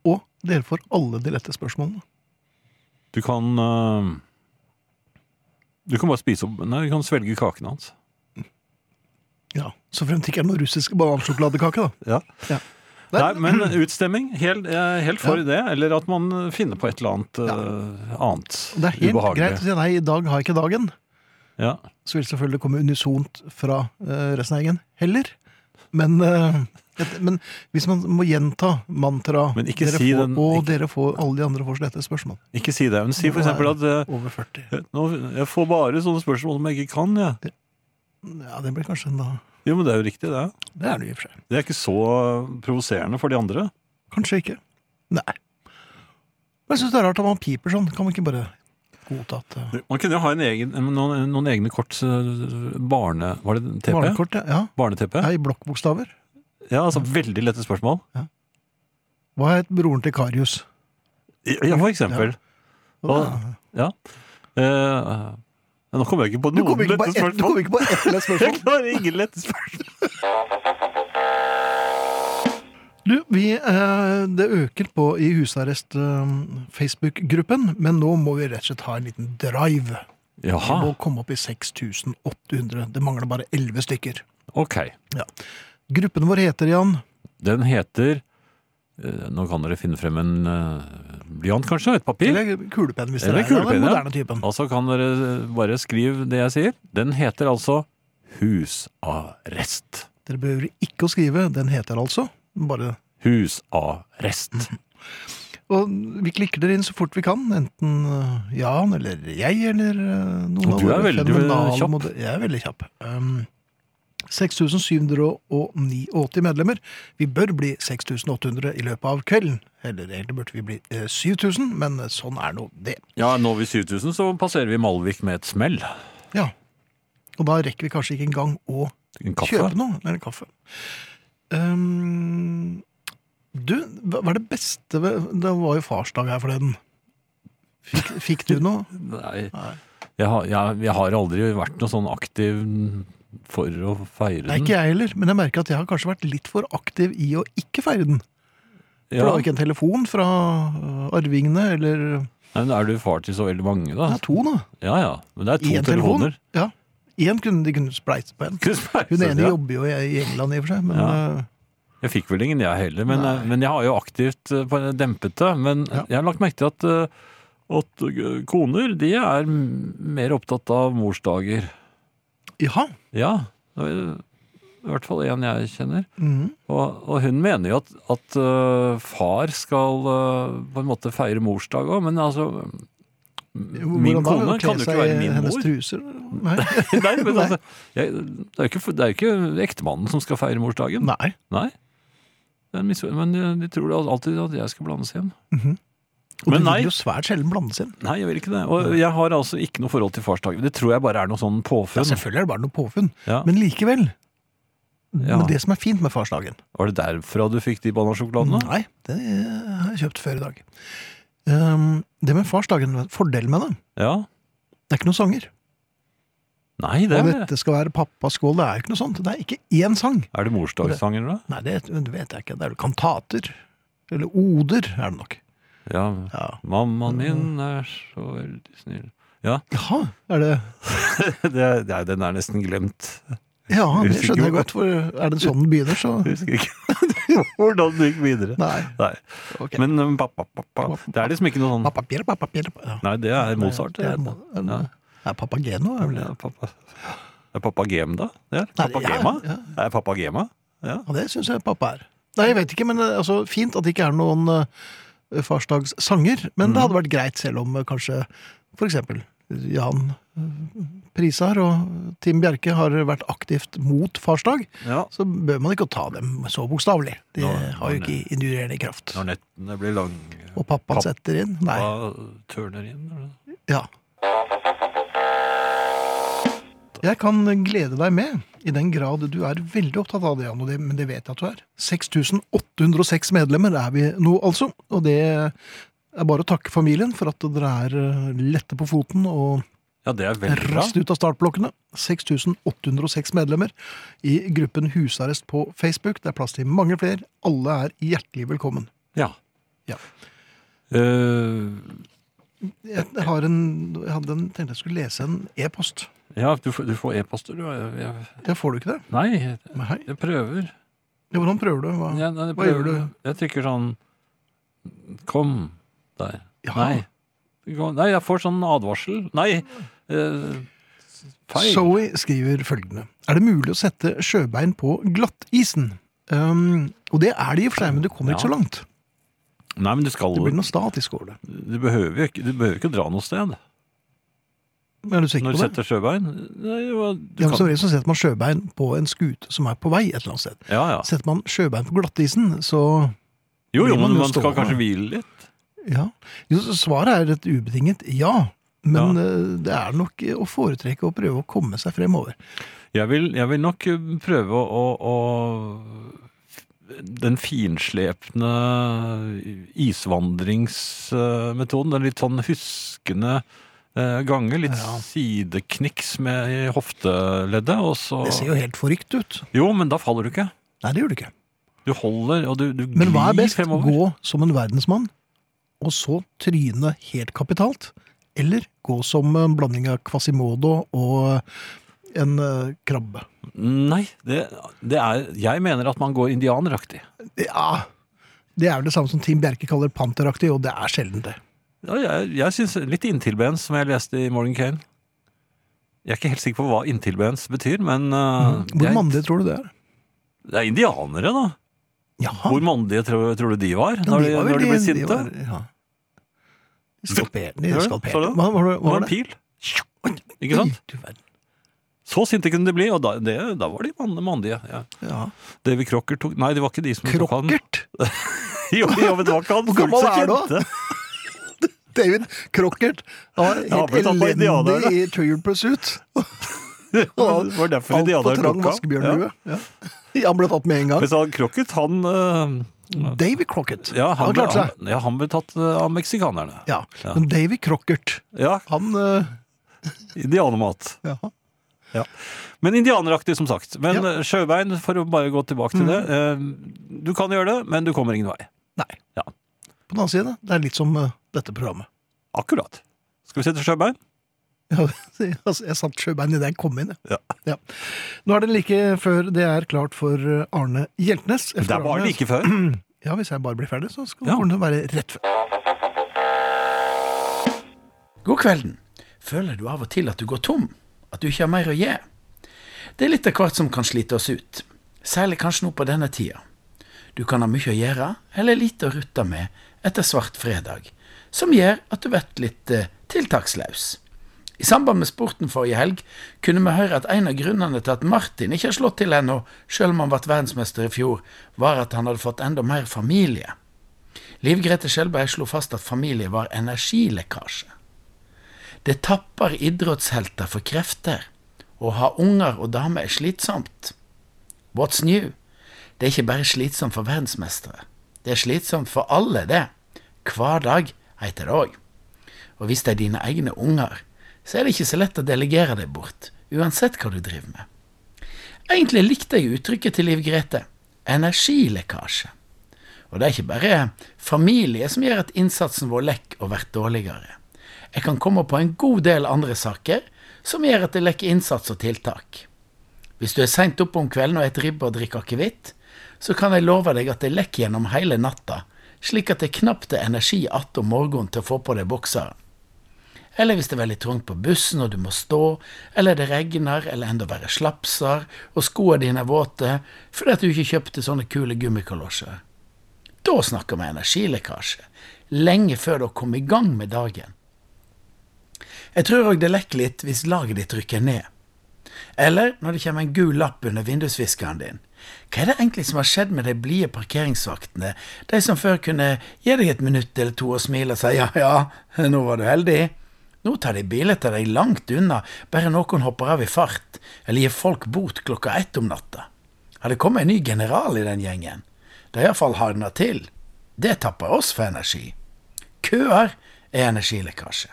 B: Og dere får alle de lette spørsmålene.
C: Du kan eh, Du kan bare spise opp Nei, du kan svelge kaken hans.
B: Ja, Så fremt det ikke er noen russiske banansjokoladekake, da.
C: Ja.
B: Ja. Nei,
C: Nei, men utstemming. Helt, jeg er helt for det. Eller at man finner på et eller annet eh, annet
B: Det er helt
C: ubehagelig.
B: greit å si nei, i dag har jeg ikke dagen.
C: Ja.
B: Så vil selvfølgelig komme unisont fra eh, resten av gjengen heller. Men, eh, et, men hvis man må gjenta mantra
C: Men ikke
B: dere
C: si
B: får,
C: den-
B: Og
C: ikke-
B: dere får alle de andre får slette spørsmål.
C: Ikke si det. Men si for
B: Nå er-
C: eksempel at eh,
B: Over 40.
C: nå, jeg får bare sånne spørsmål om jeg ikke kan, jeg. Ja.
B: Ja, det blir kanskje en da
C: Jo, men det er jo riktig, det.
B: Det er det i og for seg.
C: Det er ikke så provoserende for de andre.
B: Kanskje ikke. Nei. Men jeg syns det er rart at man piper sånn. Kan man ikke bare godta at eh,
C: Man kunne jo ha en egen, noen, noen egne kort eh, barne... Var det TP?
B: Barnekort, ja.
C: Barne-TP?
B: ja. I blokkbokstaver.
C: Ja, altså veldig lette spørsmål.
B: Hva het broren til Karius?
C: Ja, for eksempel. Hva- Ja. Eh, nå kommer jeg ikke på
B: Du
C: noen
B: kom ikke på
C: lette
B: ett du kom
C: spørsmål.
B: ikke på ett lett spørsmål.
C: Jeg klarer ingen lette spørsmål.
B: Du, vi, eh, det øker på i husarrest-Facebook-gruppen, men nå må vi rett og slett ha en liten drive. Vi
C: Jaha,
B: må komme opp i 6800. Det mangler bare 11 stykker.
C: ok.
B: Gruppen vår heter, Jan
C: Den heter eh, Nå kan dere finne frem en eh, blyant, kanskje? Et papir?
B: Eller kulepenn, hvis
C: Eller
B: dere er av den
C: kulepenn, ja.
B: moderne typen.
C: Og så kan dere eh, bare skrive det jeg sier. Den heter altså Husarrest.
B: Dere behøver ikke å skrive. Den heter altså bare
C: Husarrest.
B: Og vi klikker dere inn så fort vi kan, enten eh, Jan eller jeg eller eh, noen
C: Og du er
B: våre
C: veldig
B: fenomenale
C: kjapp.
B: moder- Jeg er veldig kjapp. Um, 6789 medlemmer. Vi bør bli 6800 i løpet av kvelden. Eller egentlig burde vi bli eh, 7000, men eh, sånn er nå det.
C: Ja, når vi 7000, så passerer vi Malvik med et smell.
B: Ja. Og da rekker vi kanskje ikke engang å
C: En kaffe.
B: kjøpe noe. Eller en kaffe. Um, du, hva hva er det beste ved Det var jo farsdag her forleden. Fikk, fikk du noe?
C: Nei.
B: Nei.
C: Jeg har, jeg, jeg har aldri vært noe sånn aktiv for å feire
B: Nei,
C: den.
B: ikke jeg heller, men jeg merker at jeg har kanskje vært litt for aktiv i å ikke feire den. For det var ikke en telefon fra øh, arvingene, eller
C: Nei, men er du far til så veldig mange,
B: Det
C: da?
B: er to, da.
C: Ja ja. Men det er to
B: I en telefon.
C: telefoner.
B: Ja. Én kunne de kunne spleise på en. Hun ene jobber jo i i England, i og for seg, men
C: Ja.
B: øh,
C: Jeg fikk vel ingen, jeg heller. Men,
B: Nei.
C: men jeg har jo aktivt eh, på- dempet det. Men
B: Ja.
C: jeg har lagt merke til at, eh, at eh, koner de er m- mer opptatt av morsdager.
B: Jaha.
C: Ja. det er I hvert fall en jeg kjenner.
B: Mhm.
C: Og, og hun mener jo at, at eh, far skal eh, på en måte feire morsdag òg, men altså
B: Hvordan
C: Min
B: da?
C: kone
B: Kle
C: kan jo
B: seg
C: ikke være
B: i
C: min
B: hennes
C: mor.
B: Truser? Nei.
C: Nei, men
B: Nei.
C: altså, jeg, det er jo ikke, det er jo ikke ektemannen som skal feire morsdagen.
B: Nei.
C: Nei. Det er en misfor- men de, de tror da alltid at jeg skal blandes igjen.
B: Mhm. Og du
C: Men nei.
B: vil jo svært sjelden blandes inn.
C: Nei, jeg vil ikke det. Og jeg har altså ikke noe forhold til farsdagen. Det tror jeg bare er noe sånn
B: Ja,
C: påfunn.
B: selvfølgelig er det bare noe påfunn,
C: Ja.
B: men likevel.
C: Ja.
B: Men det som er fint med farsdagen
C: Var det derfra du fikk de banasjokoladene?
B: Nei, det har jeg kjøpt før i dag. Ehm, det med farsdagen, fordelen med det,
C: Ja.
B: det er ikke noen sanger.
C: Nei, det
B: Og
C: er det.
B: dette skal være pappas skål, det er jo ikke noe sånt. Det er ikke én sang.
C: Er det morsdagssanger, da?
B: Nei, det vet jeg ikke. Det er jo kantater. Eller oder, er det nok.
C: Ja.
B: Ja.
C: Mammaen min er så veldig snill.
B: Jaha, er det
C: det, er- det, er- den er nesten glemt.
B: Ja, det
C: Husker ikke
B: skjønner jeg
C: hvor-
B: godt, for er det sånn den begynner, så
C: Jeg husker ikke hvordan det gikk videre.
B: Nei.
C: Nei.
B: ok.
C: Men um, pa, pa, pa, pa. det er liksom ikke noe sånn
B: Papapir, papapir ja.
C: Nei, det er Mozart.
B: Det er,
C: det.
B: en,
C: Ja.
B: er Papageno, er vel det?
C: Ja, pappa. Er pappa Gem, da? Det er
B: Nei,
C: pappa
B: ja,
C: Gema?
B: ja.
C: Er pappa Gema? Ja.
B: Ja, det syns jeg pappa er. Nei, jeg vet ikke, men eh, altså, Fint at det ikke er noen eh, farsdagssanger, men
C: Mm.
B: det hadde vært greit selv om eh, kanskje f.eks. Jan eh, Prisar og Tim Bjerke har vært aktivt mot farsdag,
C: ja.
B: så bør man ikke ta dem så bokstavelig. De
C: Nå-
B: har jo ikke indurerende kraft.
C: Når nettene blir lange,
B: Og pappaen
C: Papp-
B: setter inn. Nei.
C: hva tørner inn? eller?
B: Ja. Jeg kan glede deg med, i den grad du er veldig opptatt av det, Jan, og det, men det vet jeg at du er. 6806 medlemmer er vi nå, altså. Og det er bare å takke familien for at dere er eh, lette på foten og
C: Ja, det er veldig bra.
B: raskt ut av startblokkene. 6806 medlemmer i gruppen Husarrest på Facebook. Det er plass til mange flere. Alle er hjertelig velkommen.
C: Ja.
B: Ja.
C: Eh,
B: Jeg, har en, jeg hadde en, tenkte jeg skulle lese en e-post.
C: ja, du får, du får e-poster, du. Jeg, jeg,
B: Ja, får du ikke det?
C: nei,
B: Nei.
C: jeg prøver.
B: Ja, hvordan prøver du? Hva,
C: Ja, nei, jeg
B: hva gjør du?
C: Jeg trykker sånn Kom der.
B: Ja.
C: Nei. Kom- Nei, jeg får sånn advarsel. Nei! eh, feil.
B: Zoe skriver følgende. Er det mulig å sette sjøbein på glattisen? Um, og det er det i og for seg, men du kommer ikke
C: Ja.
B: så langt.
C: Nei, men du skal
B: Det blir noe statisk over det.
C: Du behøver jo ikke, du behøver ikke å dra noe sted
B: Er du sikker
C: når
B: på
C: du
B: det?
C: setter sjøbein. Nei, hva- du
B: Ja, men som
C: kan-
B: regel så setter man sjøbein på en skute som er på vei et eller annet sted.
C: Ja, ja.
B: Setter man sjøbein på glattisen, så
C: Jo, jo,
B: blir man jo
C: men man skal
B: stående.
C: kanskje hvile litt.
B: ja. Jo, så svaret er et ubetinget ja. Men
C: Ja.
B: eh, det er nok eh, å foretrekke å prøve å komme seg fremover.
C: Jeg vil, jeg vil nok eh, prøve å, å Den finslepne isvandringsmetoden, den litt sånn huskende eh, gange, litt
B: Ja.
C: sidekniks med i hofteleddet, og så
B: Det ser jo helt forrykt ut.
C: Jo, men da faller du ikke.
B: Nei, det gjør det ikke.
C: Du holder, og du, du
B: Men hva er best?
C: fremover.
B: Gå som en verdensmann, og så tryne helt kapitalt? Eller gå som en blanding av Quasimodo og en eh, krabbe?
C: Nei, det, det er Jeg mener at man går indianeraktig.
B: Ja, det er jo det samme som Team Bjerke kaller panteraktig, og det er sjelden det.
C: Ja, jeg jeg syns litt inntilbens, som jeg leste i Morgan Kane. Jeg er ikke helt sikker på hva inntilbens betyr, men uh, det,
B: Mm. Hvor
C: er,
B: mandig tror du det er?
C: det er indianere, da.
B: Jaha.
C: Hvor mandige tror, tror du de var
B: Ah. Ja,
C: når
B: de
C: de,
B: var
C: når de
B: veldig-
C: ble sinte?
B: var- ja. Skalperte. de
C: Hør du?
B: skalperte.
C: Så du?
B: Hva, hva, var det-
C: det
B: hva
C: var
B: var
C: en
B: det?
C: pil. Ikke sant?
B: Du verden.
C: Så sinte kunne de bli, og da, det, da var de man- mandige. Ja.
B: Ja.
C: Davy Crocker tok Nei, det var ikke de som tok han.
B: Krokkert!
C: Jo, jo, men det var ikke han
B: Hvor gammel
C: som
B: er du, da?
C: kjente.
B: David Crockert. Han
C: Ja,
B: var
C: ble
B: helt
C: tatt på indianerne.
B: elendig i Trial Pursuit.
C: Det var derfor
B: Altfor
C: indianerne
B: trang
C: tok han.
B: vaskebjørnlue. Ja. Han ble tatt med en
C: Ja.
B: gang.
C: Mens han Crockett, han eh,
B: David Crockett.
C: ja, han,
B: han
C: ble,
B: klarte seg.
C: han, ja, han ble tatt eh, av meksikanerne.
B: Ja.
C: Ja.
B: Men David Crockert,
C: Ja,
B: han eh,
C: indianermat.
B: ja.
C: Men indianeraktig, som sagt. Men
B: Ja. Mm.
C: eh, sjøbein, for å bare gå tilbake til det. eh, Du kan gjøre det, men du kommer ingen vei.
B: Nei.
C: Ja.
B: På den annen side, det er litt som eh, dette programmet.
C: Akkurat. Skal vi sette sjøbein?
B: Ja, altså, jeg satt sjøbein idet jeg kom inn. jeg.
C: Ja.
B: Ja. Nå er det like før det er klart for eh, Arne Hjeltnes. Efter
C: Der var
B: Arne-
C: det like før.
B: altså. Ja, Hvis jeg bare blir ferdig, så skal
C: Ja.
B: det være rett før.
D: God kvelden. Føler du av og til at du går tom? At du ikke har mer å gi? Det er litt av hvert som kan slite oss ut. Særlig kanskje nå på denne tida. Du kan ha mye å gjøre, eller lite å rutte med etter svart fredag, som gjør at du blir litt eh, tiltakslaus. I samband med sporten forrige helg kunne vi høre at en av grunnene til at Martin ikke har slått til ennå, selv om han ble verdensmester i fjor, var at han hadde fått enda mer familie. Liv Grete Skjelberg slo fast at familie var energilekkasje. Det tapper idrettshelter for krefter. Å ha unger og damer er slitsomt. What's new? Det er ikke bare slitsomt for verdensmestere. Det er slitsomt for alle, det. Hver dag, heter det òg. Og hvis det er dine egne unger, så er det ikke så lett å delegere deg bort, uansett hva du driver med. Egentlig likte jeg uttrykket til Liv Grete energilekkasje. Og det er ikke bare familie som gjør at innsatsen vår lekk og blir dårligere. Jeg kan komme på en god del andre saker som gjør at det lekker innsats og tiltak. Hvis du er seint oppe om kvelden og et ribbe og drikker akevitt, så kan jeg love deg at det lekker gjennom hele natta, slik at det knapt er energi att om morgenen til å få på deg bokseren. Eller hvis det er veldig trangt på bussen og du må stå, eller det regner, eller enda verre slapser, og skoene dine er våte fordi at du ikke kjøpte sånne kule gummikalosjer. Da snakker vi energilekkasje, lenge før du har kommet i gang med dagen. Jeg tror òg det lekker litt hvis laget ditt rykker ned. Eller når det kommer en gul lapp under vindusviskeren din. Hva er det egentlig som har skjedd med de blide parkeringsvaktene, de som før kunne gi deg et minutt eller to og smile og si ja, ja, nå var du heldig? Nå tar de biler til deg langt unna, bare noen hopper av i fart, eller gir folk bot klokka ett om natta. Har det kommet en ny general i den gjengen? Det har iallfall hardna til. Det tapper oss for energi. Køer er energilekkasje.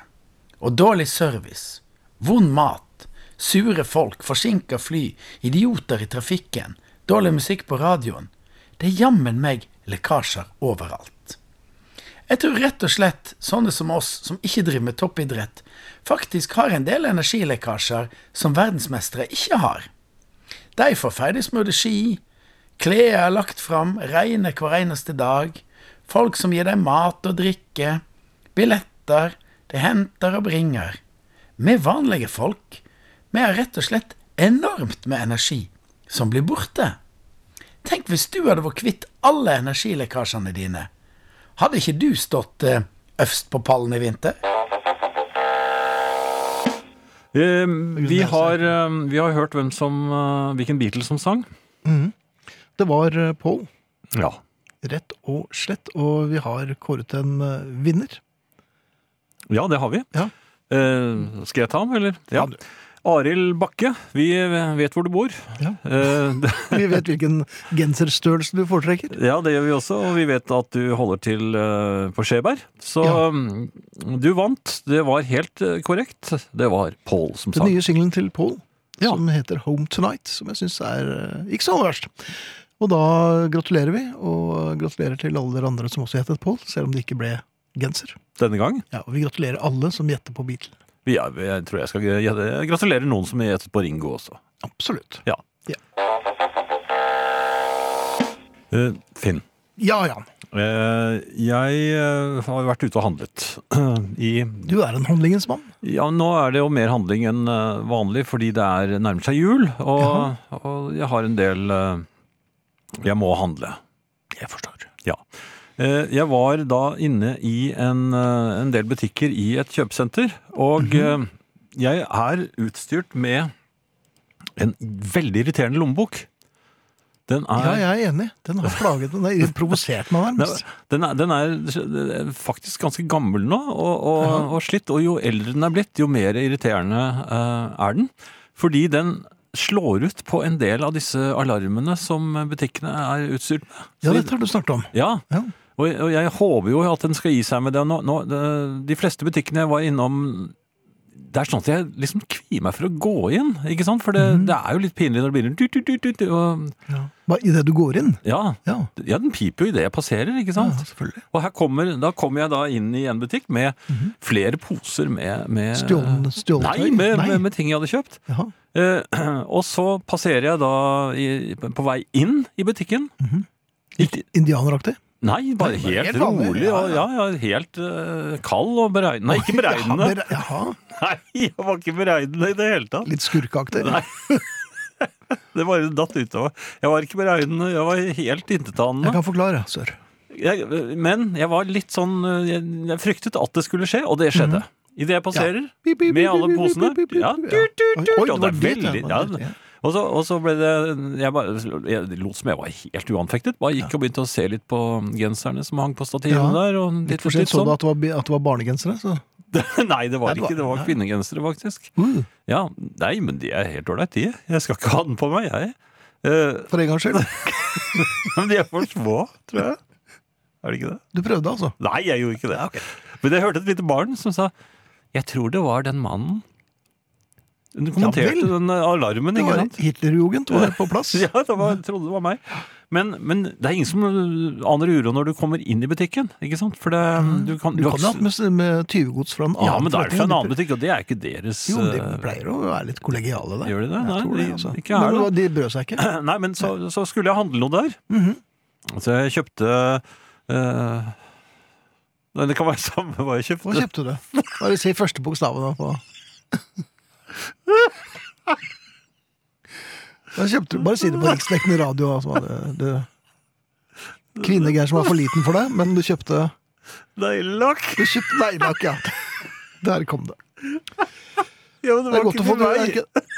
D: Og dårlig service, vond mat, sure folk, forsinka fly, idioter i trafikken, dårlig musikk på radioen. Det er jammen meg lekkasjer overalt. Jeg tror rett og slett sånne som oss, som ikke driver med toppidrett, faktisk har en del energilekkasjer som verdensmestere ikke har. De får ferdigsmurte ski, Klær er lagt fram, regner hver eneste dag. Folk som gir deg mat og drikke. Billetter. De henter og bringer. Vi vanlige folk, vi har rett og slett enormt med energi som blir borte. Tenk hvis du hadde vært kvitt alle energilekkasjene dine. Hadde ikke du stått eh, øverst på pallen i vinter?
C: Eh, vi, har, eh, vi har hørt hvem som, eh, hvilken Beatles som sang.
B: Det var eh, Paul,
C: Ja.
B: rett og slett, og vi har kåret en eh, vinner.
C: Ja, det har vi.
B: Ja.
C: Eh, skal jeg ta ham, eller? Ja. Arild Bakke, vi eh, vet hvor du bor.
B: Ja.
C: Eh, det,
B: Vi vet hvilken genserstørrelse du foretrekker.
C: ja, det gjør vi også, og vi vet at du holder til eh, på Skjeberg. Så
B: Ja.
C: mm, du vant. Det var helt eh, korrekt. Det var Paul som
B: Den
C: sang.
B: nye singelen til Paul,
C: Ja.
B: som heter Home Tonight, som jeg syns er eh, ikke så aller verst. Og da gratulerer vi, og gratulerer til alle dere andre som også gjettet Paul, selv om det ikke ble genser.
C: Denne gang.
B: Ja, og vi gratulerer alle som gjetter på Beatle.
C: Ja, jeg tror jeg skal jeg gratulerer noen som gjettet på Ringo også.
B: Absolutt.
C: Ja.
B: Ja.
C: Eh, Finn.
B: Ja, Jan.
C: Eh, jeg eh, har vært ute og handlet. I,
B: Du er en handlingens mann.
C: ja, nå er det jo mer handling enn eh, vanlig, fordi det er nærmer seg jul, og, og jeg har en del eh, Jeg må handle.
B: Jeg forstår.
C: Ja. Eh, Jeg var da inne i en, eh, en del butikker i et kjøpesenter, og
B: Mhm.
C: eh, jeg er utstyrt med en veldig irriterende lommebok. Den er,
B: Ja, jeg er enig. Den har plaget meg. Den har provosert meg nærmest.
C: Den, er, den er faktisk ganske gammel nå og, og, og slitt, og jo eldre den er blitt, jo mer irriterende eh, er den. Fordi den slår ut på en del av disse alarmene som butikkene er utstyrt med. Så
B: Ja,
C: de-
B: dette har du snakket om.
C: ja,
B: Ja.
C: og, og jeg håper jo at den skal gi seg med det. Nå, nå, det- de fleste butikkene jeg var innom det er sånn at jeg liksom kvier meg for å gå inn, ikke sant? For det,
B: Mhm.
C: det er jo litt pinlig når det begynner du, du, du, du, du, og,
B: Ja. Bare Idet du går inn.
C: ja,
B: Ja.
C: ja, den piper jo idet jeg passerer, ikke
B: ja,
C: sant?
B: selvfølgelig.
C: Og her kommer, da kommer jeg da inn i en butikk med
B: Mhm.
C: flere poser med, med eh,
B: Stjålen- stjålet
C: Nei,
B: tøy?
C: med,
B: Nei.
C: Med, med ting jeg hadde kjøpt.
B: Ja.
C: Eh, og så passerer jeg da i, på vei inn i butikken. Ikke-
B: Indianeraktig?
C: Nei, bare
B: Mhm. Nei, bare
C: helt,
B: helt vanlig,
C: rolig.
B: ja,
C: og, ja, ja, helt eh, kald og beregnende. Nei, ikke
B: Ja,
C: beregnende.
B: bere- Jaha,
C: Nei, jeg var ikke beregnende i det hele tatt.
B: litt skurkeaktig.
C: Nei. Det bare datt utover. Jeg var ikke beregnende, jeg var helt
B: Jeg
C: intetanende.
B: kan forklare, sør.
C: Jeg, men jeg var litt sånn eh, jeg, jeg fryktet at det skulle skje, og det skjedde. Idet jeg passerer,
B: Mhm. Beep, beep,
C: med
B: beep,
C: alle
B: beep,
C: posene
B: beep, beep, beep,
C: ja,
B: beep,
C: du, du,
B: Oi,
C: du,
B: oi,
C: og det er
B: var dit, ja,
C: veldig
B: det
C: ja,
B: var dit, ja.
C: og, så, og så ble det Jeg, bare, jeg lot som jeg var helt uanfektet. Bare gikk og begynte å se litt på genserne som hang på stativene
B: Ja.
C: der. Og litt,
B: Litt for
C: og
B: sent
C: litt
B: så
C: sånn.
B: du at det var, bi- at det var barnegensere. Så.
C: Nei, det var
B: Nei, det var-
C: ikke. Det var
B: nei.
C: kvinnegensere, faktisk.
B: Uh,
C: Ja, Nei, men de er helt ålreit, de. Jeg skal ikke ha den på meg, jeg. Eh,
B: for en gangs skyld.
C: men de er for små, tror jeg. Er det ikke det?
B: Du prøvde, altså.
C: Nei, jeg gjorde ikke det. Men jeg hørte et lite barn som sa Jeg tror det var den mannen. Hun kommenterte
B: vel.
C: den eh, alarmen,
B: Det
C: ikke
B: var
C: sant?
B: Hitlerjugend var på plass.
C: Ja, det var, jeg trodde det var meg. Men, men det er ingen som eh, aner uro når du kommer inn i butikken, ikke sant? For det, du kan,
B: Mm. Du kan jo ha med, med tyvegods fra en annen
C: Ja, men da er det fra en
B: forretning.
C: annen butikk, og det er ikke deres
B: Jo, de
C: eh,
B: pleier å være litt kollegiale der.
C: Gjør de det?
B: Jeg
C: Nei,
B: tror det,
C: de-
B: altså.
C: ikke er
B: Men De brød seg ikke.
C: Nei, men så, så skulle jeg handle noe der.
B: Mhm.
C: Så jeg kjøpte eh, Nei, det kan være samme hva jeg
B: Hva
C: kjøpte.
B: kjøpte du? Bare si første bokstaven da på Hva kjøpte du? Bare si det på riksdekkende radio. Altså. Det, det. Kvinnegeir som var for liten for deg, men du kjøpte
C: Neglelakk!
B: Du kjøpte neglelakk, ja. Der kom det.
C: Ja, men det
B: Det
C: var
B: er godt
C: ikke
B: å få
C: til meg.
B: det er ikke-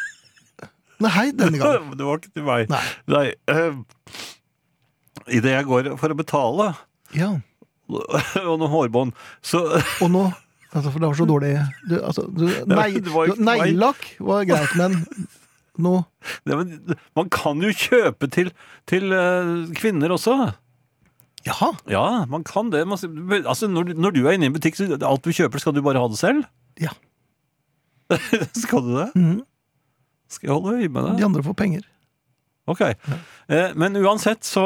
B: Nei, hei denne gangen.
C: Det var ikke til meg.
B: Nei.
C: Nei. Uh, Idet jeg går for å betale,
B: Ja.
C: og noen hårbånd, så
B: Og nå altså, For det var så dårlig du, altså, du, nei,
C: det var jo
B: du- Neglelakk var greit, men nå
C: ja, men, Man kan jo kjøpe til, til eh, kvinner også.
B: Jaha.
C: Ja, man kan det. Man, altså, når, du- når du er inne i en butikk, så alt du kjøper, skal du bare ha det selv?
B: Ja.
C: skal du det?
B: Mhm.
C: Skal jeg holde øye med deg?
B: De andre får penger.
C: Ok. Eh, men uansett så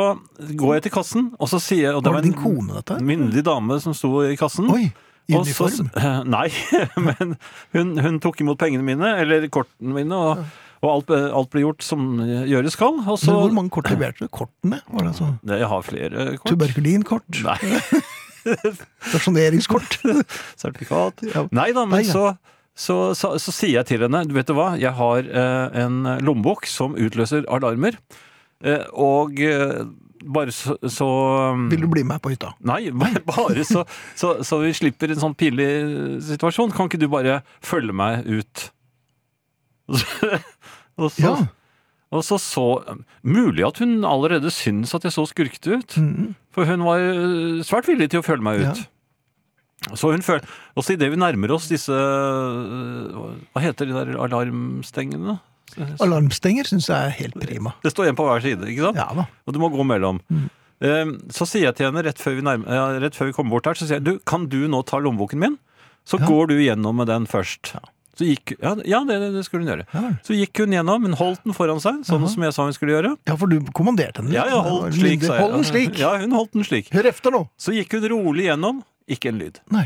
C: går jeg til kassen, og så sier jeg og
B: Var det
C: en
B: din kone, dette? her?
C: Minnelig dame som sto i kassen.
B: Oi! I
C: Og så-
B: uniform?
C: eh, nei, men hun, hun tok imot pengene mine, eller kortene mine, og, Og alt, eh, alt blir gjort som eh, gjøres kan. Og
B: Men
C: så
B: hvor mange kort leverte du? Kortene? Var det altså
C: Jeg har flere eh, kort.
B: Tuberkulinkort?
C: Nei,
B: Rasjoneringskort?
C: sertifikat.
B: Ja.
C: Nei da, men
B: Nei, ja.
C: så, så, så, så sier jeg til henne Du vet du hva, jeg har eh, en lommebok som utløser alarmer. Eh, og eh, bare så, så
B: Vil du bli med på hytta?
C: Nei, ba- bare så, så, så vi slipper en sånn pinlig situasjon. Kan ikke du bare følge meg ut? Og så, og så,
B: Ja.
C: og så, så Mulig at hun allerede syns at jeg så skurkete ut.
B: Mhm.
C: For hun var øh, svært villig til å følge meg
B: Ja.
C: ut. Så hun føl... Også idet vi nærmer oss disse øh, Hva heter de der alarmstengene?
B: Alarmstenger syns jeg er helt prima.
C: Det står en på hver side, ikke sant?
B: Ja da.
C: Og du må gå mellom. Ehm, Så sier jeg til henne rett før vi, nærm- ja, rett før vi kommer bort her, så sier jeg du, kan du nå ta lommeboken min? Så
B: Ja.
C: går du gjennom med den først. Så gikk, ja, ja det, det skulle hun gjøre.
B: Ja vel.
C: Så gikk hun gjennom, hun holdt den foran seg, sånn som jeg sa hun skulle gjøre.
B: Ja, for du kommanderte henne.
C: Ja, ja, hold den slik, sa jeg.
B: Hold den slik!
C: Ja, hun holdt den slik.
B: Hør efter nå!
C: Så gikk hun rolig gjennom, ikke en lyd.
B: Nei.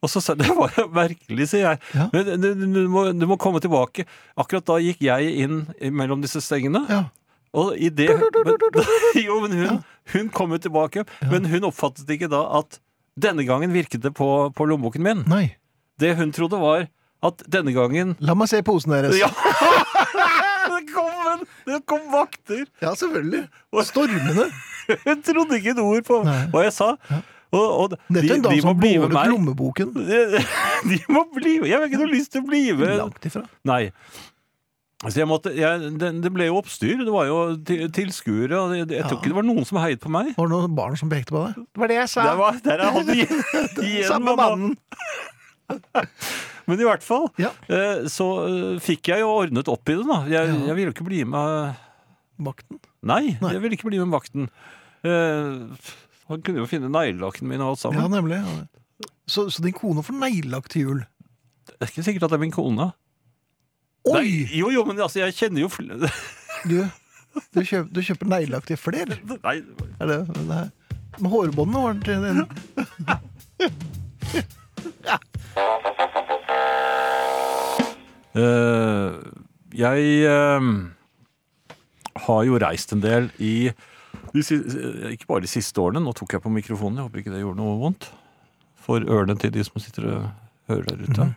C: Og så sa jeg, Det var jo merkelig, sier jeg.
B: Ja.
C: Men du, du, du, må, du må komme tilbake. Akkurat da gikk jeg inn mellom disse stengene.
B: Ja.
C: Og i det men, Jo, men hun, hun kom jo tilbake. Men hun oppfattet ikke da at denne gangen virket det på, på lommeboken min.
B: Nei.
C: Det hun trodde var at denne gangen
B: La meg se posen deres.
C: Ja! Det kom, en, det kom vakter!
B: Ja, selvfølgelig. Stormende.
C: Hun trodde ikke et ord på
B: Nei.
C: hva jeg sa. Og, og de,
B: Dette er en
C: de
B: dame
C: må
B: som
C: bli med
B: båret
C: meg.
B: lommeboken.
C: De må bli med. Jeg har ikke noe lyst til å bli med.
B: Langt ifra.
C: Nei. Så jeg måtte, jeg, det, det ble jo oppstyr. Det var jo ti- tilskuere. og Jeg, jeg
B: Ja.
C: tror ikke det var noen som heiet på meg.
B: Var det noen barn som pekte på deg? Det var det jeg
C: Der, var, der er han igjen. igjen,
B: Samme
C: mamma.
B: mannen.
C: Men i hvert fall
B: Ja.
C: eh, så eh, fikk jeg jo ordnet opp i det, da. Jeg,
B: Ja.
C: jeg ville jo ikke bli med
B: Vakten.
C: Nei,
B: Nei.
C: jeg ville ikke bli med vakten. Eh, han kunne jo finne neglelakken min og
B: Ja,
C: alt sammen.
B: nemlig. Ja. Så, så din kone får neglelakk til jul.
C: Det er ikke sikkert at det er min kone.
B: Oi!
C: Nei, jo, jo, men altså, jeg kjenner jo fl
B: Du, du, kjøp, du kjøper neglelakk til flere?
C: Nei,
B: Er det det her? Med hårbåndene var det til en
C: Eh, jeg eh, har jo reist en del i de, si- eh, Ikke bare de siste årene. Nå tok jeg på mikrofonen. Jeg håper ikke det gjorde noe vondt for ørene til de som sitter og hører der ute.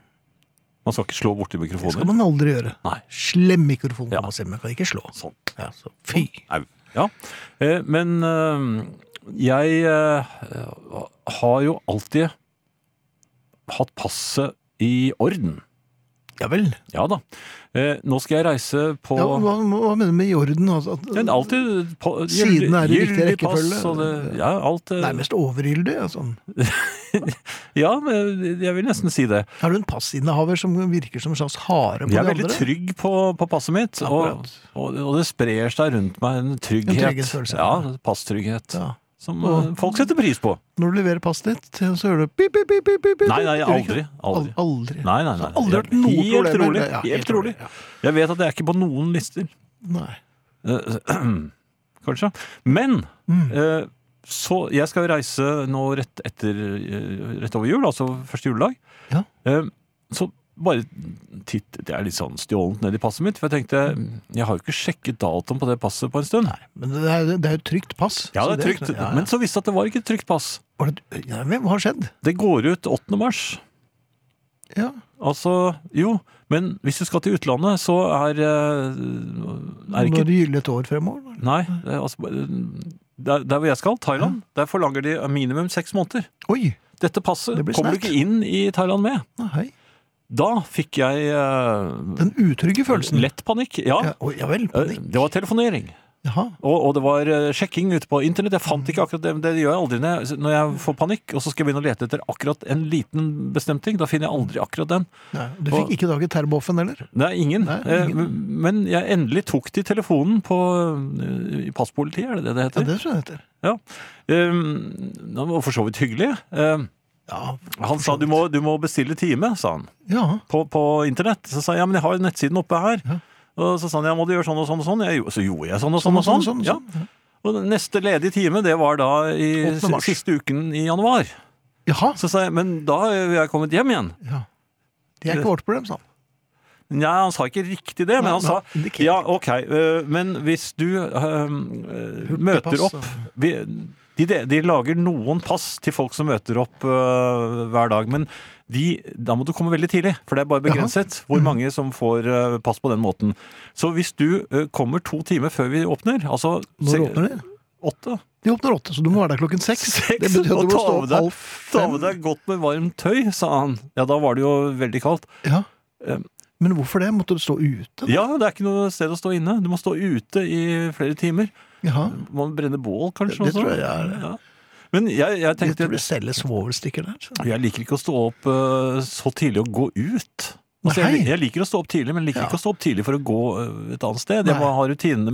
C: Man skal ikke slå borti
B: Det
C: mikrofoner.
B: Mhm. skal man aldri gjøre.
C: Nei.
B: Slem mikrofon
C: Ja.
B: kan man si, men man kan ikke slå.
C: Sånn.
B: Ja, så fy.
C: Au. Ja. Eh, men eh, jeg eh, har jo alltid hatt passet i orden.
B: Ja vel.
C: Ja da. Eh, nå skal jeg reise på
B: Ja, hva, hva mener du med i orden? Altså, at,
C: Men alltid på,
B: Siden er i riktig
C: gyldig pass,
B: rekkefølge.
C: og det, ja, alt, eh,
B: Nærmest overgyldig. Altså.
C: ja, men jeg vil nesten si det.
B: Er du en passinnehaver som virker som en slags hare på
C: Jeg er
B: de
C: veldig
B: andre?
C: trygg på, på passet mitt, og,
B: Akkurat.
C: og, og det sprer seg rundt meg en trygghet.
B: trygghetsfølelse.
C: Ja, passtrygghet.
B: Ja.
C: Som
B: Og-
C: eh, folk setter pris på.
B: Når du leverer passet ditt, så hører du pip, pip, pip, pip, pip, pip.
C: Nei, nei,
B: Gjør du ikke?
C: aldri. aldri.
B: Al- aldri.
C: Nei, nei, nei.
B: Så aldri vært noe
C: helt
B: problem med
C: rolig.
B: det. Ja,
C: helt
B: helt
C: rolig.
B: rolig, ja.
C: Jeg vet at jeg er ikke på noen lister,
B: Nei.
C: eh, kanskje. Men eh, så jeg skal reise nå rett, etter, eh, rett over jul, altså første juledag.
B: Ja.
C: Eh, Så bare tittet jeg litt sånn stjålent ned i passet mitt, for jeg tenkte jeg har jo ikke sjekket datoen på det passet på en stund.
B: Men det er, det er jo et trygt pass.
C: Ja,
B: så
C: det er trygt,
B: ja, ja.
C: Men så visste jeg at det var ikke et trygt pass.
B: Var det- ja, men Hva har skjedd?
C: Det går ut 8. mars.
B: Ja.
C: Altså, jo, men hvis du skal til utlandet, så er eh, Er
B: Nå er
C: ikke
B: det gyldig et år fremover?
C: Nei, det er altså der, der hvor jeg skal, Thailand, der forlanger de minimum seks måneder.
B: Oi!
C: Dette passet
B: Det blir
C: kommer du
B: snert.
C: ikke inn i Thailand med.
B: Nei.
C: Da fikk jeg eh,
B: Den utrygge følelsen.
C: lett panikk. Ja,
B: Ja, oi, ja vel.
C: Eh,
B: Panikk.
C: det var telefonering.
B: Jaha.
C: Og, og det var eh, sjekking ute på internett. Jeg
B: Mm.
C: fant ikke akkurat det, men det gjør jeg aldri når jeg, når jeg får panikk. Og så skal jeg begynne å lete etter akkurat en liten bestemt ting. Da finner jeg aldri akkurat den.
B: Nei, du fikk ikke tak i terboffen heller?
C: Det er ingen.
B: Nei,
C: Eh,
B: ingen.
C: m- Men jeg endelig tok til telefonen på eh, i passpolitiet, er det det det
B: Ja,
C: heter?
B: det tror jeg det heter.
C: Ja. Eh, Han var for så vidt hyggelig. Eh,
B: Ja.
C: Han sa du må, du må bestille time, sa han.
B: ja.
C: på, på internett. Så sa jeg ja, men jeg har jo nettsiden oppe her.
B: Ja.
C: Og så sa han ja, må du gjøre sånn og sånn og sånn. Jeg, gjorde- så gjorde jeg sånn og sånn. Og sånn,
B: sånn,
C: Ja. og den neste ledige time, det var da i
B: 8. mars.
C: siste uken i januar.
B: Jaha.
C: Så sa jeg men da er jeg kommet hjem igjen.
B: Ja. Det er ikke vårt problem, sa han.
C: Nei, han sa ikke riktig det, men han sa
B: han indikerte.
C: Ja, ok, øh, men hvis du øh, øh, møter
B: Hurtigpass,
C: opp vi, de, de- de lager noen pass til folk som møter opp øh, hver dag, men de, da må du komme veldig tidlig, for det er bare begrenset hvor mange
B: Mm.
C: som får øh, pass på den måten. Så hvis du øh, kommer to timer før vi åpner, altså
B: Når
C: se-
B: åpner de?
C: Åtte.
B: De åpner åtte, så du må være der klokken seks.
C: Seks,
B: Det betyr at
C: og
B: du må
C: ta
B: stå
C: med
B: opp
C: deg-
B: halv
C: Ta
B: fem.
C: med deg godt med varmt tøy, sa han. Ja, da var det jo veldig kaldt.
B: Ja.
C: Um,
B: Men hvorfor det? Måtte du stå ute?
C: Ja, det er ikke noe sted å stå inne. Du må stå ute i flere timer.
B: Jaha.
C: Må brenne bål, kanskje.
B: Det- det
C: også.
B: tror jeg er-
C: Ja. Men jeg, jeg
B: Jeg
C: tenkte
B: tror de selger svovelstikker der. så.
C: Jeg liker ikke å stå opp eh, så tidlig og gå ut. Altså, jeg,
B: Nei.
C: jeg liker å stå opp tidlig, men liker
B: Ja.
C: ikke å stå opp tidlig for å gå eh, et annet sted. Jeg
B: Nei.
C: må ha rutinene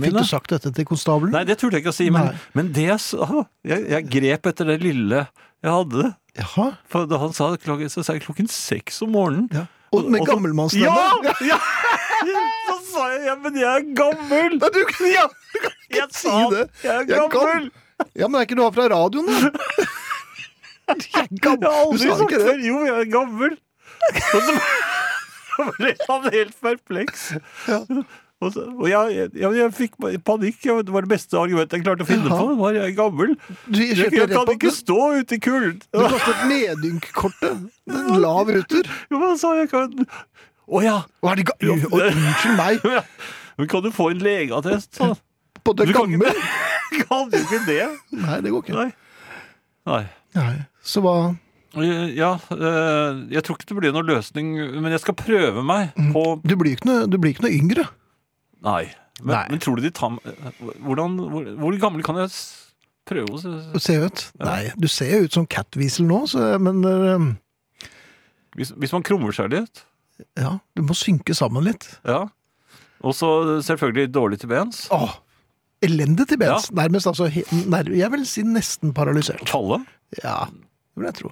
B: Fikk
C: mine.
B: du sagt dette til konstabelen?
C: Nei, det turte jeg ikke å si, men,
B: Nei.
C: men det jeg sa jeg, jeg grep etter det lille jeg hadde.
B: Jaha.
C: For da han sa klokken, så sa jeg klokken seks om morgenen.
B: Ja. Og med
C: Og så-
B: gammelmannsstemme?
C: Ja! ja! Så sa jeg ja, men jeg er gammel!
B: Nei, du, ja, du kan ikke
C: Jeg
B: si
C: sa
B: det!
C: Jeg er
B: Jeg er
C: gammel!
B: gammel. Ja, Men det er ikke noe fra radioen, da? Jeg er gammel.
C: Jeg har
B: Du
C: aldri
B: sa
C: sagt
B: ikke
C: det.
B: det.
C: Jo, jeg er gammel. Og så så ble han helt perpleks. Og, så, og jeg, jeg, jeg, jeg fikk panikk. Jeg- Det var det beste argumentet jeg klarte å finne
B: Jaha.
C: på. Var jeg er gammel?
B: Du
C: Jeg,
B: kjørte
C: jeg
B: rett
C: kan
B: på
C: ikke
B: du-
C: stå ute i kulden.
B: Du kastet medynk-kortet. Det er en Lav ruter.
C: Jo, men han sa jeg kan Å ja!
B: Og er det ga jo, og, Unnskyld meg,
C: Men kan du få en legeattest? sa han.
B: på det
C: Du kan ikke-
B: gamle?
C: Kan du ikke det?
B: Nei, det går ikke.
C: Nei. Nei.
B: Nei. Så hva
C: Ja, eh, jeg tror ikke det blir noen løsning, men jeg skal prøve meg på
B: Du blir ikke noe, du blir ikke noe yngre.
C: Nei. Men,
B: Nei.
C: men tror du de tar hvordan, hvor, hvor gammel kan jeg s- prøve å s-
B: Du ser ut. Nei, du ser jo ut som Catweasel nå, så, men eh,
C: hvis, hvis man krummer seg litt?
B: ja, du må synke sammen litt.
C: Ja. Og så selvfølgelig dårlig til bens.
B: Åh, elendig til bens.
C: Ja.
B: Nærmest altså, he- nær, jeg vil si nesten paralysert.
C: Falle.
B: Ja, det vil jeg tro.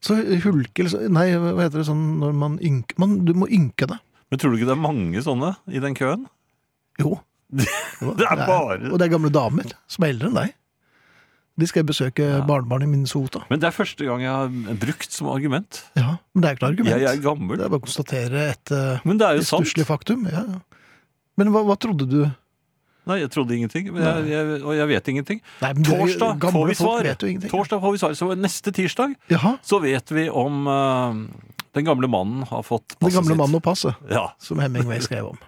B: Så hulke, eller så- nei, hva heter det sånn når man ynker, man, du må ynke deg.
C: Men tror du ikke det er mange sånne i den køen?
B: Jo.
C: Det
B: Jo,
C: er bare-
B: Og det er gamle damer som er eldre enn deg. De skal besøke barnebarn i Minnesota.
C: Men det er første gang jeg har brukt som argument.
B: Ja, men det er ikke noe argument.
C: Jeg, jeg er gammel.
B: Det er bare å konstatere et eh,
C: Men det er jo sant.
B: stusslig faktum. Ja, ja. Men hva, hva trodde du?
C: Nei, jeg trodde ingenting. Men jeg, jeg, og jeg vet ingenting.
B: Nei, men dere
C: Torsdag
B: gamle
C: får vi
B: folk
C: svar.
B: Vet jo ingenting.
C: Torsdag får vi svar. Så neste tirsdag
B: Jaha,
C: så vet vi om eh, den gamle mannen har fått
B: Den
C: passet
B: gamle
C: sitt.
B: mannen og passet,
C: Ja.
B: som Hemingway skrev om.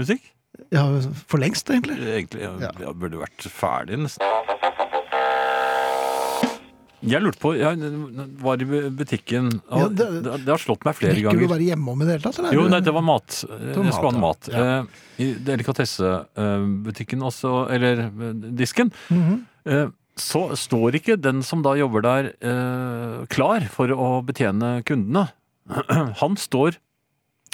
C: Musikk?
B: Ja, For lengst, egentlig.
C: egentlig jeg,
B: Ja.
C: jeg burde vært ferdig nesten. Jeg lurte på Jeg var i butikken og
B: Ja,
C: det,
B: det-
C: det, har slått meg flere
B: Rekker du å
C: ganger.
B: være hjemme om i det hele tatt? eller er
C: Jo,
B: du-
C: nei, det var mat. Jeg skulle ha
B: mat,
C: mat. Eh, I delikatessebutikken også, eller eh, disken,
B: Mhm.
C: eh, så står ikke den som da jobber der, eh, klar for å betjene kundene. Han står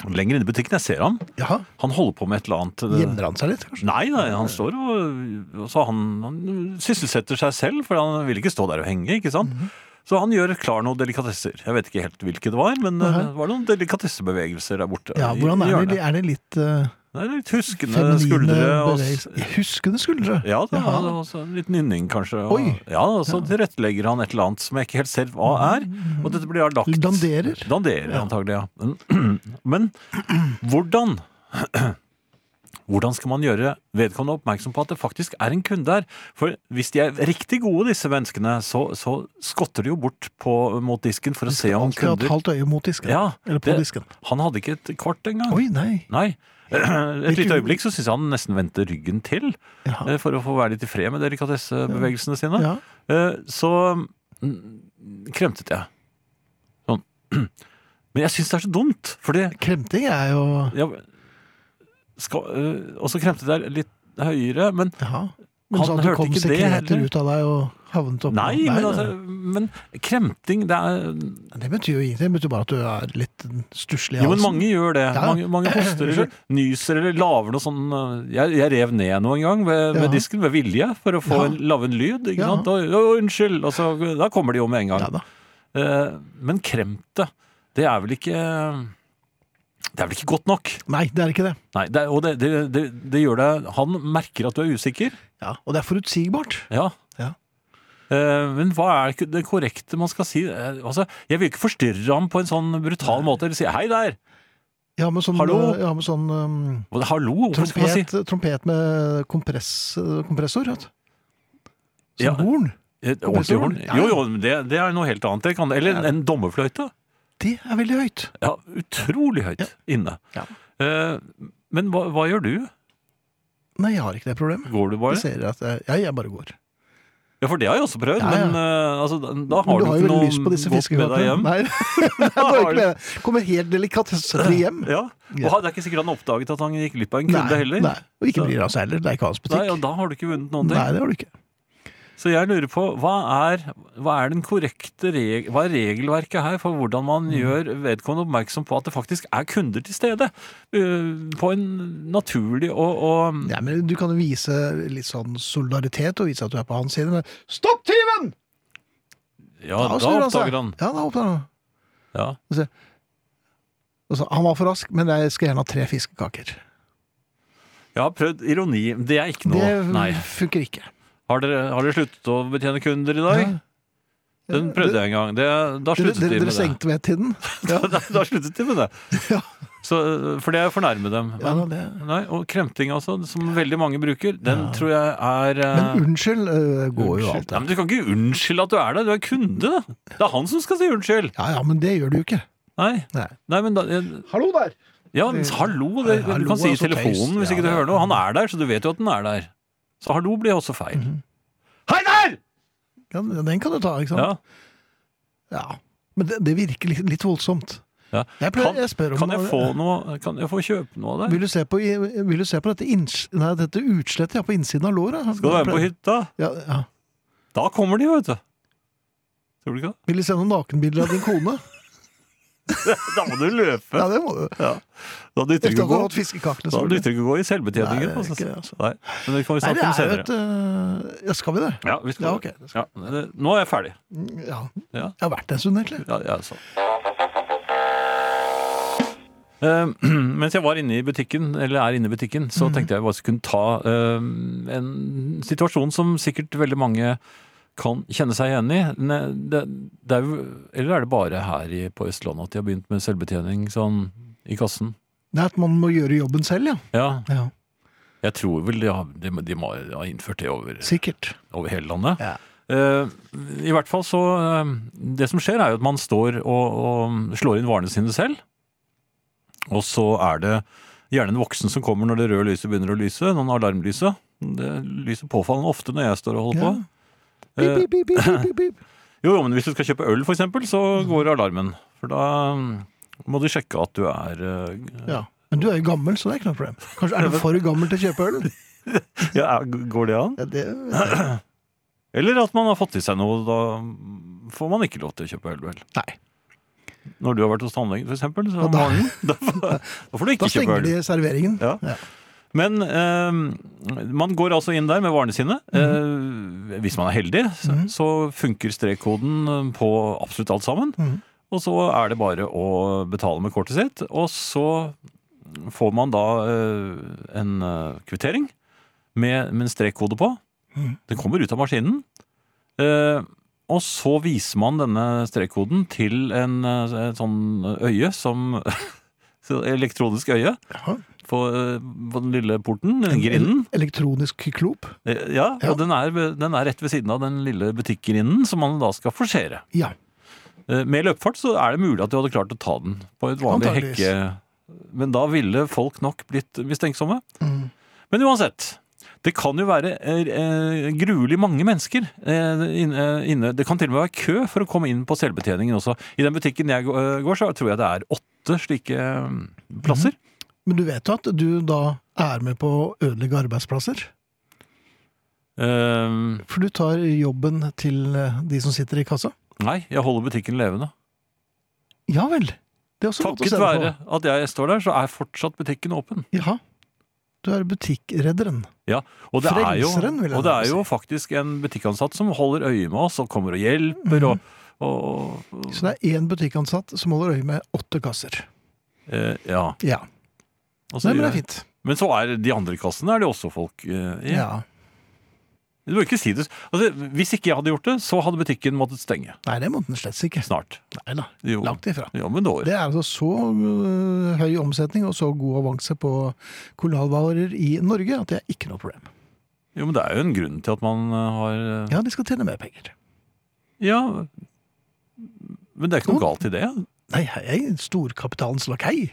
C: lenger inne i butikken. Jeg ser han.
B: Jaha,
C: Han holder på med et eller annet. eh,
B: Gjemmer han seg litt, kanskje?
C: Nei, nei, han står og og så han, han sysselsetter seg selv, for han vil ikke stå der og henge, ikke sant?
B: Mhm.
C: Så han gjør klar noen delikatesser. Jeg vet ikke helt hvilke det var, men
B: Nei.
C: eh, det var noen delikatessebevegelser der borte.
B: Ja,
C: i-
B: hvordan er
C: i hjørnet.
B: det? Er det litt eh,
C: Det er litt huskende
B: feminine
C: skuldre. Og, s-
B: bevegelser? Huskende skuldre?
C: ja, det
B: Jaha.
C: var også litt nynning, kanskje. Og,
B: Oi.
C: Ja, og så tilrettelegger han et eller annet som jeg ikke helt ser hva er. Og dette blir da lagt
B: Danderer?
C: Danderer,
B: Ja.
C: antagelig, ja. Men, men hvordan Hvordan skal man gjøre vedkommende oppmerksom på at det faktisk er en kunde her? For hvis de er riktig gode, disse menneskene, så, så skotter de jo bort på, mot disken for å se om
B: Alltid hatt
C: kunder
B: halvt øye mot disken.
C: ja,
B: Eller på
C: det,
B: disken.
C: Han hadde ikke et kort engang.
B: Oi, nei.
C: Nei. Et
B: Hvilken-
C: lite øyeblikk så syns jeg han nesten vendte ryggen til
B: Jaha.
C: eh, for å få være litt i fred med delikatessebevegelsene sine.
B: Ja.
C: Eh, Så mm, kremtet jeg. Sånn. Men jeg syns det er så dumt, fordi
B: Kremting er jo
C: jeg, skal, eh, Og så kremtet jeg litt høyere, men
B: Jaha. Men
C: Han
B: sånn at du
C: hørte
B: kom
C: ikke det
B: sekreter
C: heller.
B: ut av deg og havnet opp
C: Nei, men, altså, men kremting, det er
B: Det betyr jo ingenting. Det betyr bare at du er litt stusslig. i
C: Jo, men
B: halsen.
C: mange gjør det.
B: altså, Ja.
C: Mange, mange hoster eller nyser eller laver noe sånn eh, Jeg, jeg rev ned noen gang ved,
B: Ja.
C: ved disken ved vilje for å få
B: Ja.
C: en, lave en lyd, ikke
B: Ja.
C: sant. Og, «Å, unnskyld! Og så, da kommer de jo med en gang.
B: Ja da.
C: Eh, Men kremte, det er vel ikke Det er vel ikke godt nok?
B: Nei, det er ikke det.
C: Nei, det er, og det, det, det, det gjør deg Han merker at du er usikker.
B: Ja, Og det er forutsigbart.
C: Ja.
B: Ja.
C: Eh, Men hva er ikke det korrekte man skal si? Eh, Altså, jeg vil ikke forstyrre ham på en sånn brutal måte eller si 'hei der'.
B: Jeg har med sånn,
C: Hallo?
B: Jeg har med sånn um,
C: Og det- Hallo, hva skal man si?
B: trompet, trompet med kompress, kompressor, vet du. Som
C: Ja.
B: horn.
C: Et Eh, Ordentlig horn?
B: Ja, ja.
C: Jo, jo, men det, det er noe helt annet. Det kan, eller en, en dommerfløyte.
B: Det er veldig høyt.
C: Ja, utrolig høyt inne.
B: Ja.
C: Eh, men hva, hva gjør du?
B: Nei, jeg har ikke det problemet.
C: Går du
B: Jeg
C: bare?
B: ser at jeg, ja, jeg bare går.
C: Ja, for det har jeg også prøvd,
B: Ja, ja.
C: men eh, altså, da, da
B: Men
C: har
B: har
C: du, ikke
B: jo veldig
C: noe
B: lyst på disse
C: godt med deg
B: fiskekakene.
C: hjem.
B: Nei, Nei, det var ikke med. Kommer helt delikatessetre hjem.
C: Ja.
B: Ja.
C: Og det er ikke sikkert han oppdaget at han gikk glipp av en kunde heller.
B: nei, og ikke bryr han seg heller. Det er ikke hans
C: Nei,
B: butikk.
C: og da har du ikke vunnet noen ting.
B: Nei, det har du ikke.
C: Så jeg lurer på, hva er, hva er den korrekte reg hva er regelverket her for hvordan man
B: Mm.
C: gjør vedkommende oppmerksom på at det faktisk er kunder til stede? øh, på en naturlig og, og
B: Ja, men du kan jo vise litt sånn solidaritet og vise at du er på hans side. Men stopp tyven!
C: Ja,
B: Ja, altså.
C: da
B: snur seg.
C: oppdager han.
B: Ja, da oppdager han.
C: Ja.
B: Og så, han var for rask, men jeg skal gjerne ha tre fiskekaker.
C: Jeg har prøvd ironi. Det er ikke noe.
B: det
C: Nei.
B: funker ikke.
C: Har dere, har dere sluttet å betjene kunder i dag?
B: Ja.
C: Den prøvde jeg en gang. Det, da
B: Dere,
C: sluttet
B: dere,
C: de med
B: dere stengte ved til den?
C: det. Da, da sluttet de med det.
B: Ja.
C: Så, øh, for det er å fornærme dem.
B: Ja, da, det.
C: Nei, og kremting, altså, som veldig mange bruker, den tror jeg er øh,
B: Men unnskyld eh, går jo
C: Unnskyld.
B: alltid.
C: Ja, men du kan ikke unnskylde at du er der, du er kunde. da. Det er han som skal si unnskyld.
B: Ja ja, men det gjør du jo ikke.
C: Nei,
B: Nei.
C: nei men da,
B: Hallo der!
C: ja, men hallo, det,
B: Hallo
C: du kan
B: er
C: si i
B: så tøys.
C: telefonen hvis
B: Ja,
C: ikke du
B: det-
C: hører noe. Han er der, så du vet jo at den er der. Så hallo blir også feil.
B: Mhm.
C: Hei der!
B: Ja, den kan du ta, ikke sant?
C: Ja,
B: Ja. Men det, det virker litt, litt voldsomt.
C: ja.
B: Jeg, pleier, jeg spør om
C: Kan jeg få noe, kan jeg få kjøpe noe av deg?
B: vil du, se på, i- vil du se på dette, inns, nei, dette utslettet jeg har på innsiden av låret?
C: Skal du være med på hytta?
B: Ja, ja.
C: Da kommer de, vet du. Tror du ikke det?
B: Vil du se noen nakenbilder av din kone?
C: Da må du løpe.
B: Ja, det må du.
C: Ja. Da nytter
B: Etter at du
C: det ikke å
B: har
C: gå.
B: hatt fiskekakene.
C: Da
B: selvfølgelig.
C: nytter det ikke å gå i
B: Nei,
C: selvbetjeningen.
B: det er
C: altså.
B: ikke det, altså.
C: Nei, men det kan vi
B: Nei,
C: snakke
B: det
C: om
B: er jo
C: senere.
B: et øh, Ja, skal vi det?
C: Ja, vi skal,
B: Ja, ok, det
C: ja, det- nå er jeg ferdig.
B: Ja.
C: Ja.
B: Jeg har vært det en stund, egentlig.
C: Ja, ja, så. Eh, mens jeg var inne i butikken, eller er inne i butikken, så tenkte jeg bare skulle ta eh, en situasjon som sikkert veldig mange kan kjenne seg igjen i. Ne- Det, det er jo, eller er det bare her i, på Østlandet at de har begynt med selvbetjening sånn i kassen?
B: Det er at man må gjøre jobben selv, ja.
C: Ja,
B: ja.
C: jeg tror vel de, har, de, de må ha innført det over
B: Sikkert.
C: over hele landet.
B: Ja.
C: Eh, I hvert fall så eh, Det som skjer, er jo at man står og, og slår inn varene sine selv. Og så er det gjerne en voksen som kommer når det røde lyset begynner å lyse. Noen alarmlyset. Det lyser påfallende ofte når jeg står og holder
B: Ja.
C: på. Eh,
B: Bip, bip, bip, bip, bip, bip.
C: jo, jo, men hvis du skal kjøpe øl, for eksempel, så går alarmen. For da mm, må du sjekke at du er eh,
B: Ja. Men du er jo gammel, så det er ikke noe problem. Kanskje Er du for gammel til å kjøpe øl?
C: ja, er- Går det an?
B: Ja, det,
C: Eller at man har fått i seg noe. Da får man ikke lov til å kjøpe øl, vel.
B: nei.
C: Når du har vært hos tannlegen, for eksempel, så
B: Ja,
C: om
B: da-
C: morgenen, da, får- da får du
B: Da
C: ikke kjøpe
B: stenger
C: øl.
B: de serveringen.
C: Ja.
B: Ja.
C: Men eh, man går altså inn der med varene sine.
B: Mhm.
C: Eh, hvis man er heldig, så, så funker strekkoden eh, på absolutt alt sammen.
B: Mhm.
C: Og så er det bare å betale med kortet sitt, og så får man da eh, en eh, kvittering med, med en strekkode på.
B: Mhm.
C: Den kommer ut av maskinen. Eh, og så viser man denne strekkoden til en, eh, et sånn øye som så Elektronisk øye
B: Jaha.
C: på, eh, på den lille porten, den grinden.
B: Elektronisk kyklop?
C: Eh, Ja,
B: Ja.
C: og den er, ved- den er rett ved siden av den lille butikkgrinden som man da skal forsere.
B: Ja.
C: Eh, Med løpefart så er det mulig at du hadde klart å ta den på et vanlig
B: Antageligvis.
C: hekke. Men da ville folk nok blitt mistenksomme.
B: Mm.
C: Men uansett. Det kan jo være eh, eh, gruelig mange mennesker eh, inne. inne. Det kan til og med være kø for å komme inn på selvbetjeningen også. I den butikken jeg gå- eh, går, så tror jeg det er åtte slike eh, plasser.
B: Men du vet jo at du da er med på å ødelegge arbeidsplasser?
C: Eh,
B: For du tar jobben til eh, de som sitter i kassa?
C: nei, jeg holder butikken levende.
B: Ja vel. Det er også lov til å
C: Takket
B: se det
C: være at jeg står der, så er fortsatt butikken åpen.
B: på. Ja. Du er butikkredderen.
C: Og det, er jo,
B: Frelseren, vil jeg
C: og det
B: nærmest
C: er jo faktisk en butikkansatt som holder øye med oss og kommer og
B: Mhm.
C: hjelper. Og, og, og,
B: Mm. Så det er én butikkansatt som holder øye med åtte kasser.
C: eh, ja,
B: Ja.
C: og så
B: Nei, men det er
C: gjør jeg-
B: fint.
C: men så er de andre kassene er det også folk eh, i.
B: Ja.
C: Du bør ikke si det. Altså, hvis ikke jeg hadde gjort det, så hadde butikken måttet stenge.
B: Nei, det måtte den slett ikke.
C: Snart.
B: Nei da,
C: Jo.
B: langt ifra.
C: Ja, men da
B: Det er altså så øh, høy omsetning og så god avanse på kolonialvarer i Norge at det er ikke noe problem.
C: Jo, men det er jo en grunn til at man eh, har eh,
B: Ja, de skal tjene mer penger.
C: Ja. Men det er ikke noe galt i det.
B: Nei, jeg er storkapitalens lakei.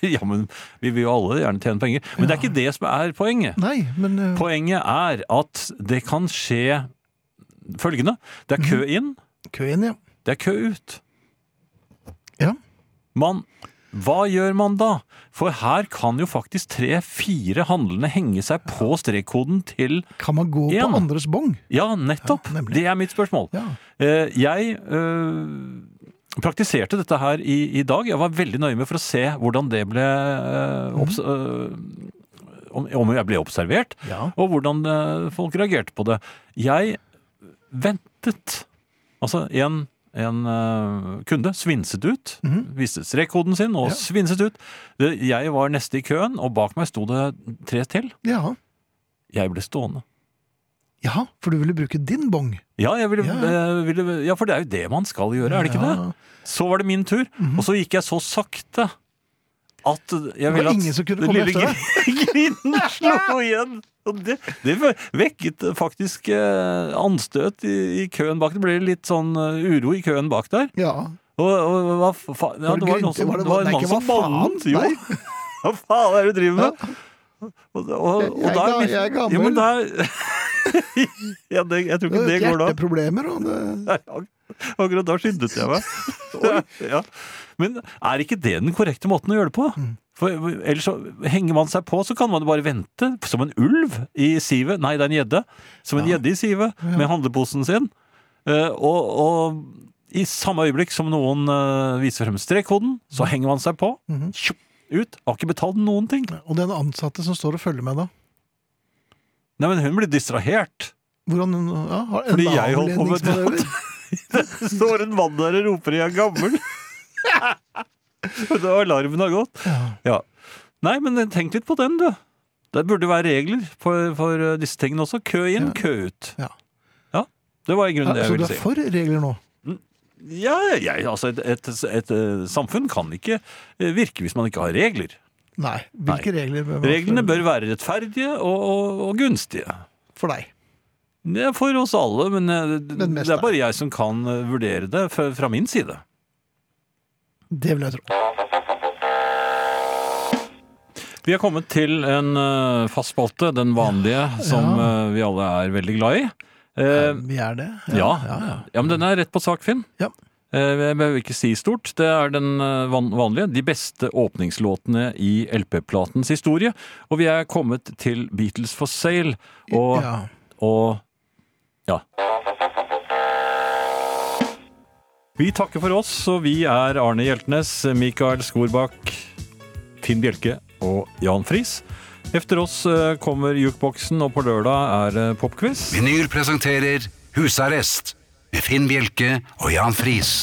C: ja, men vi vil jo alle gjerne tjene penger. Men det er ikke det som er poenget.
B: Nei, men øh,
C: Poenget er at det kan skje følgende. Det er kø
B: Mhm.
C: inn,
B: køen, ja.
C: det er kø ut.
B: Ja.
C: Man, hva gjør man da? For her kan jo faktisk tre-fire handlende henge seg på strekkoden til
B: Kan man gå
C: En.
B: på andres bong?
C: Ja, nettopp!
B: Ja, nemlig.
C: det er mitt spørsmål.
B: Ja.
C: Eh, Jeg eh, praktiserte dette her i, i dag. Jeg var veldig nøye med for å se hvordan det ble eh, obs
B: Mhm.
C: eh, om, om jeg ble observert,
B: Ja.
C: og hvordan eh, folk reagerte på det. Jeg ventet. Altså, en, en eh, kunde svinset ut, viste strekkoden sin og
B: Mhm. Ja.
C: svinset ut. Eh, Jeg var neste i køen, og bak meg sto det tre til.
B: ja.
C: Jeg ble stående.
B: Ja, for du ville bruke din bong.
C: Ja, jeg ville,
B: Ja,
C: eh, ville, ja, for det er jo det man skal gjøre, er det ikke det?
B: Ja.
C: Så var det min tur, og så gikk jeg så sakte at jeg
B: Mhm. var
C: ville at
B: ingen som kunne
C: den
B: komme
C: lille
B: etter
C: gri- grinen slo igjen. Og det, det vekket faktisk eh, anstøt i, i køen bak. Det ble litt sånn eh, uro i køen bak der.
B: Ja.
C: Og, og hva fa ja,
B: Var det
C: det var, noen
B: grinte?
C: som,
B: Var det-
C: det
B: nei,
C: var en mann
B: ikke
C: som
B: hva faen?
C: bannet. Jo,
B: Nei.
C: hva faen er det du driver med? Og, og, og
B: Jeg er
C: da
B: ga-
C: mis-
B: jeg er gammel.
C: Ja, men da ja, det, jeg tror ikke det går da.
B: Hjerteproblemer og det
C: Nei, ak- Akkurat da skyndet jeg meg. ja. Men er ikke det den korrekte måten å gjøre det på? For Ellers så henger man seg på, så kan man bare vente som en ulv i sivet. Nei, det er en gjedde. Som en gjedde i sivet med handleposen sin. Eh, og, og i samme øyeblikk som noen eh, viser frem strekkoden, så henger man seg på. Tjopp, Ut. Har ikke betalt noen ting.
B: Mhm. Og den ansatte som står og følger med da?
C: Nei, men hun blir distrahert.
B: Hvordan ja, har
C: Fordi jeg holdt på med
B: avledningsmanøver?
C: Det står en mann der og roper 'jeg er gammel'. Og Alarmen har gått.
B: Ja.
C: Ja. Nei, men tenk litt på den, du. Det burde være regler for, for disse tingene også. Kø
B: Ja.
C: inn, kø ut.
B: Ja.
C: Ja, Det var i grunnen
B: Ja,
C: det jeg
B: så du
C: ville
B: er
C: si.
B: for regler nå?
C: Ja, jeg, altså et, et, et eh, samfunn kan ikke eh, virke hvis man ikke har regler.
B: Nei. Hvilke regler bør man-
C: Reglene bør være rettferdige og, og, og gunstige.
B: For deg.
C: Det er for oss alle, men eh, det
B: Men mest deg.
C: det er bare jeg som kan eh, vurdere det fra, fra min side.
B: Det vil jeg tro.
C: Vi har kommet til en eh, fast spalte, den vanlige, som eh, vi alle er veldig glad i. Eh,
B: Vi er det?
C: Ja.
B: ja, ja.
C: Ja, men den er rett på sak, Finn.
B: Ja.
C: Eh, Jeg behøver ikke si stort. Det er den eh, van- vanlige. De beste åpningslåtene i LP-platens historie. Og vi er kommet til Beatles for sale. Og,
B: ja.
C: og ja. Vi takker for oss, og vi er Arne Hjeltnes, Mikael Skorbakk, Finn Bjelke og Jan Friis. Efter oss eh, kommer jukeboksen, og på lørdag er det popquiz.
A: Vinyl presenterer Husarrest med Finn Bjelke og Jan Friis.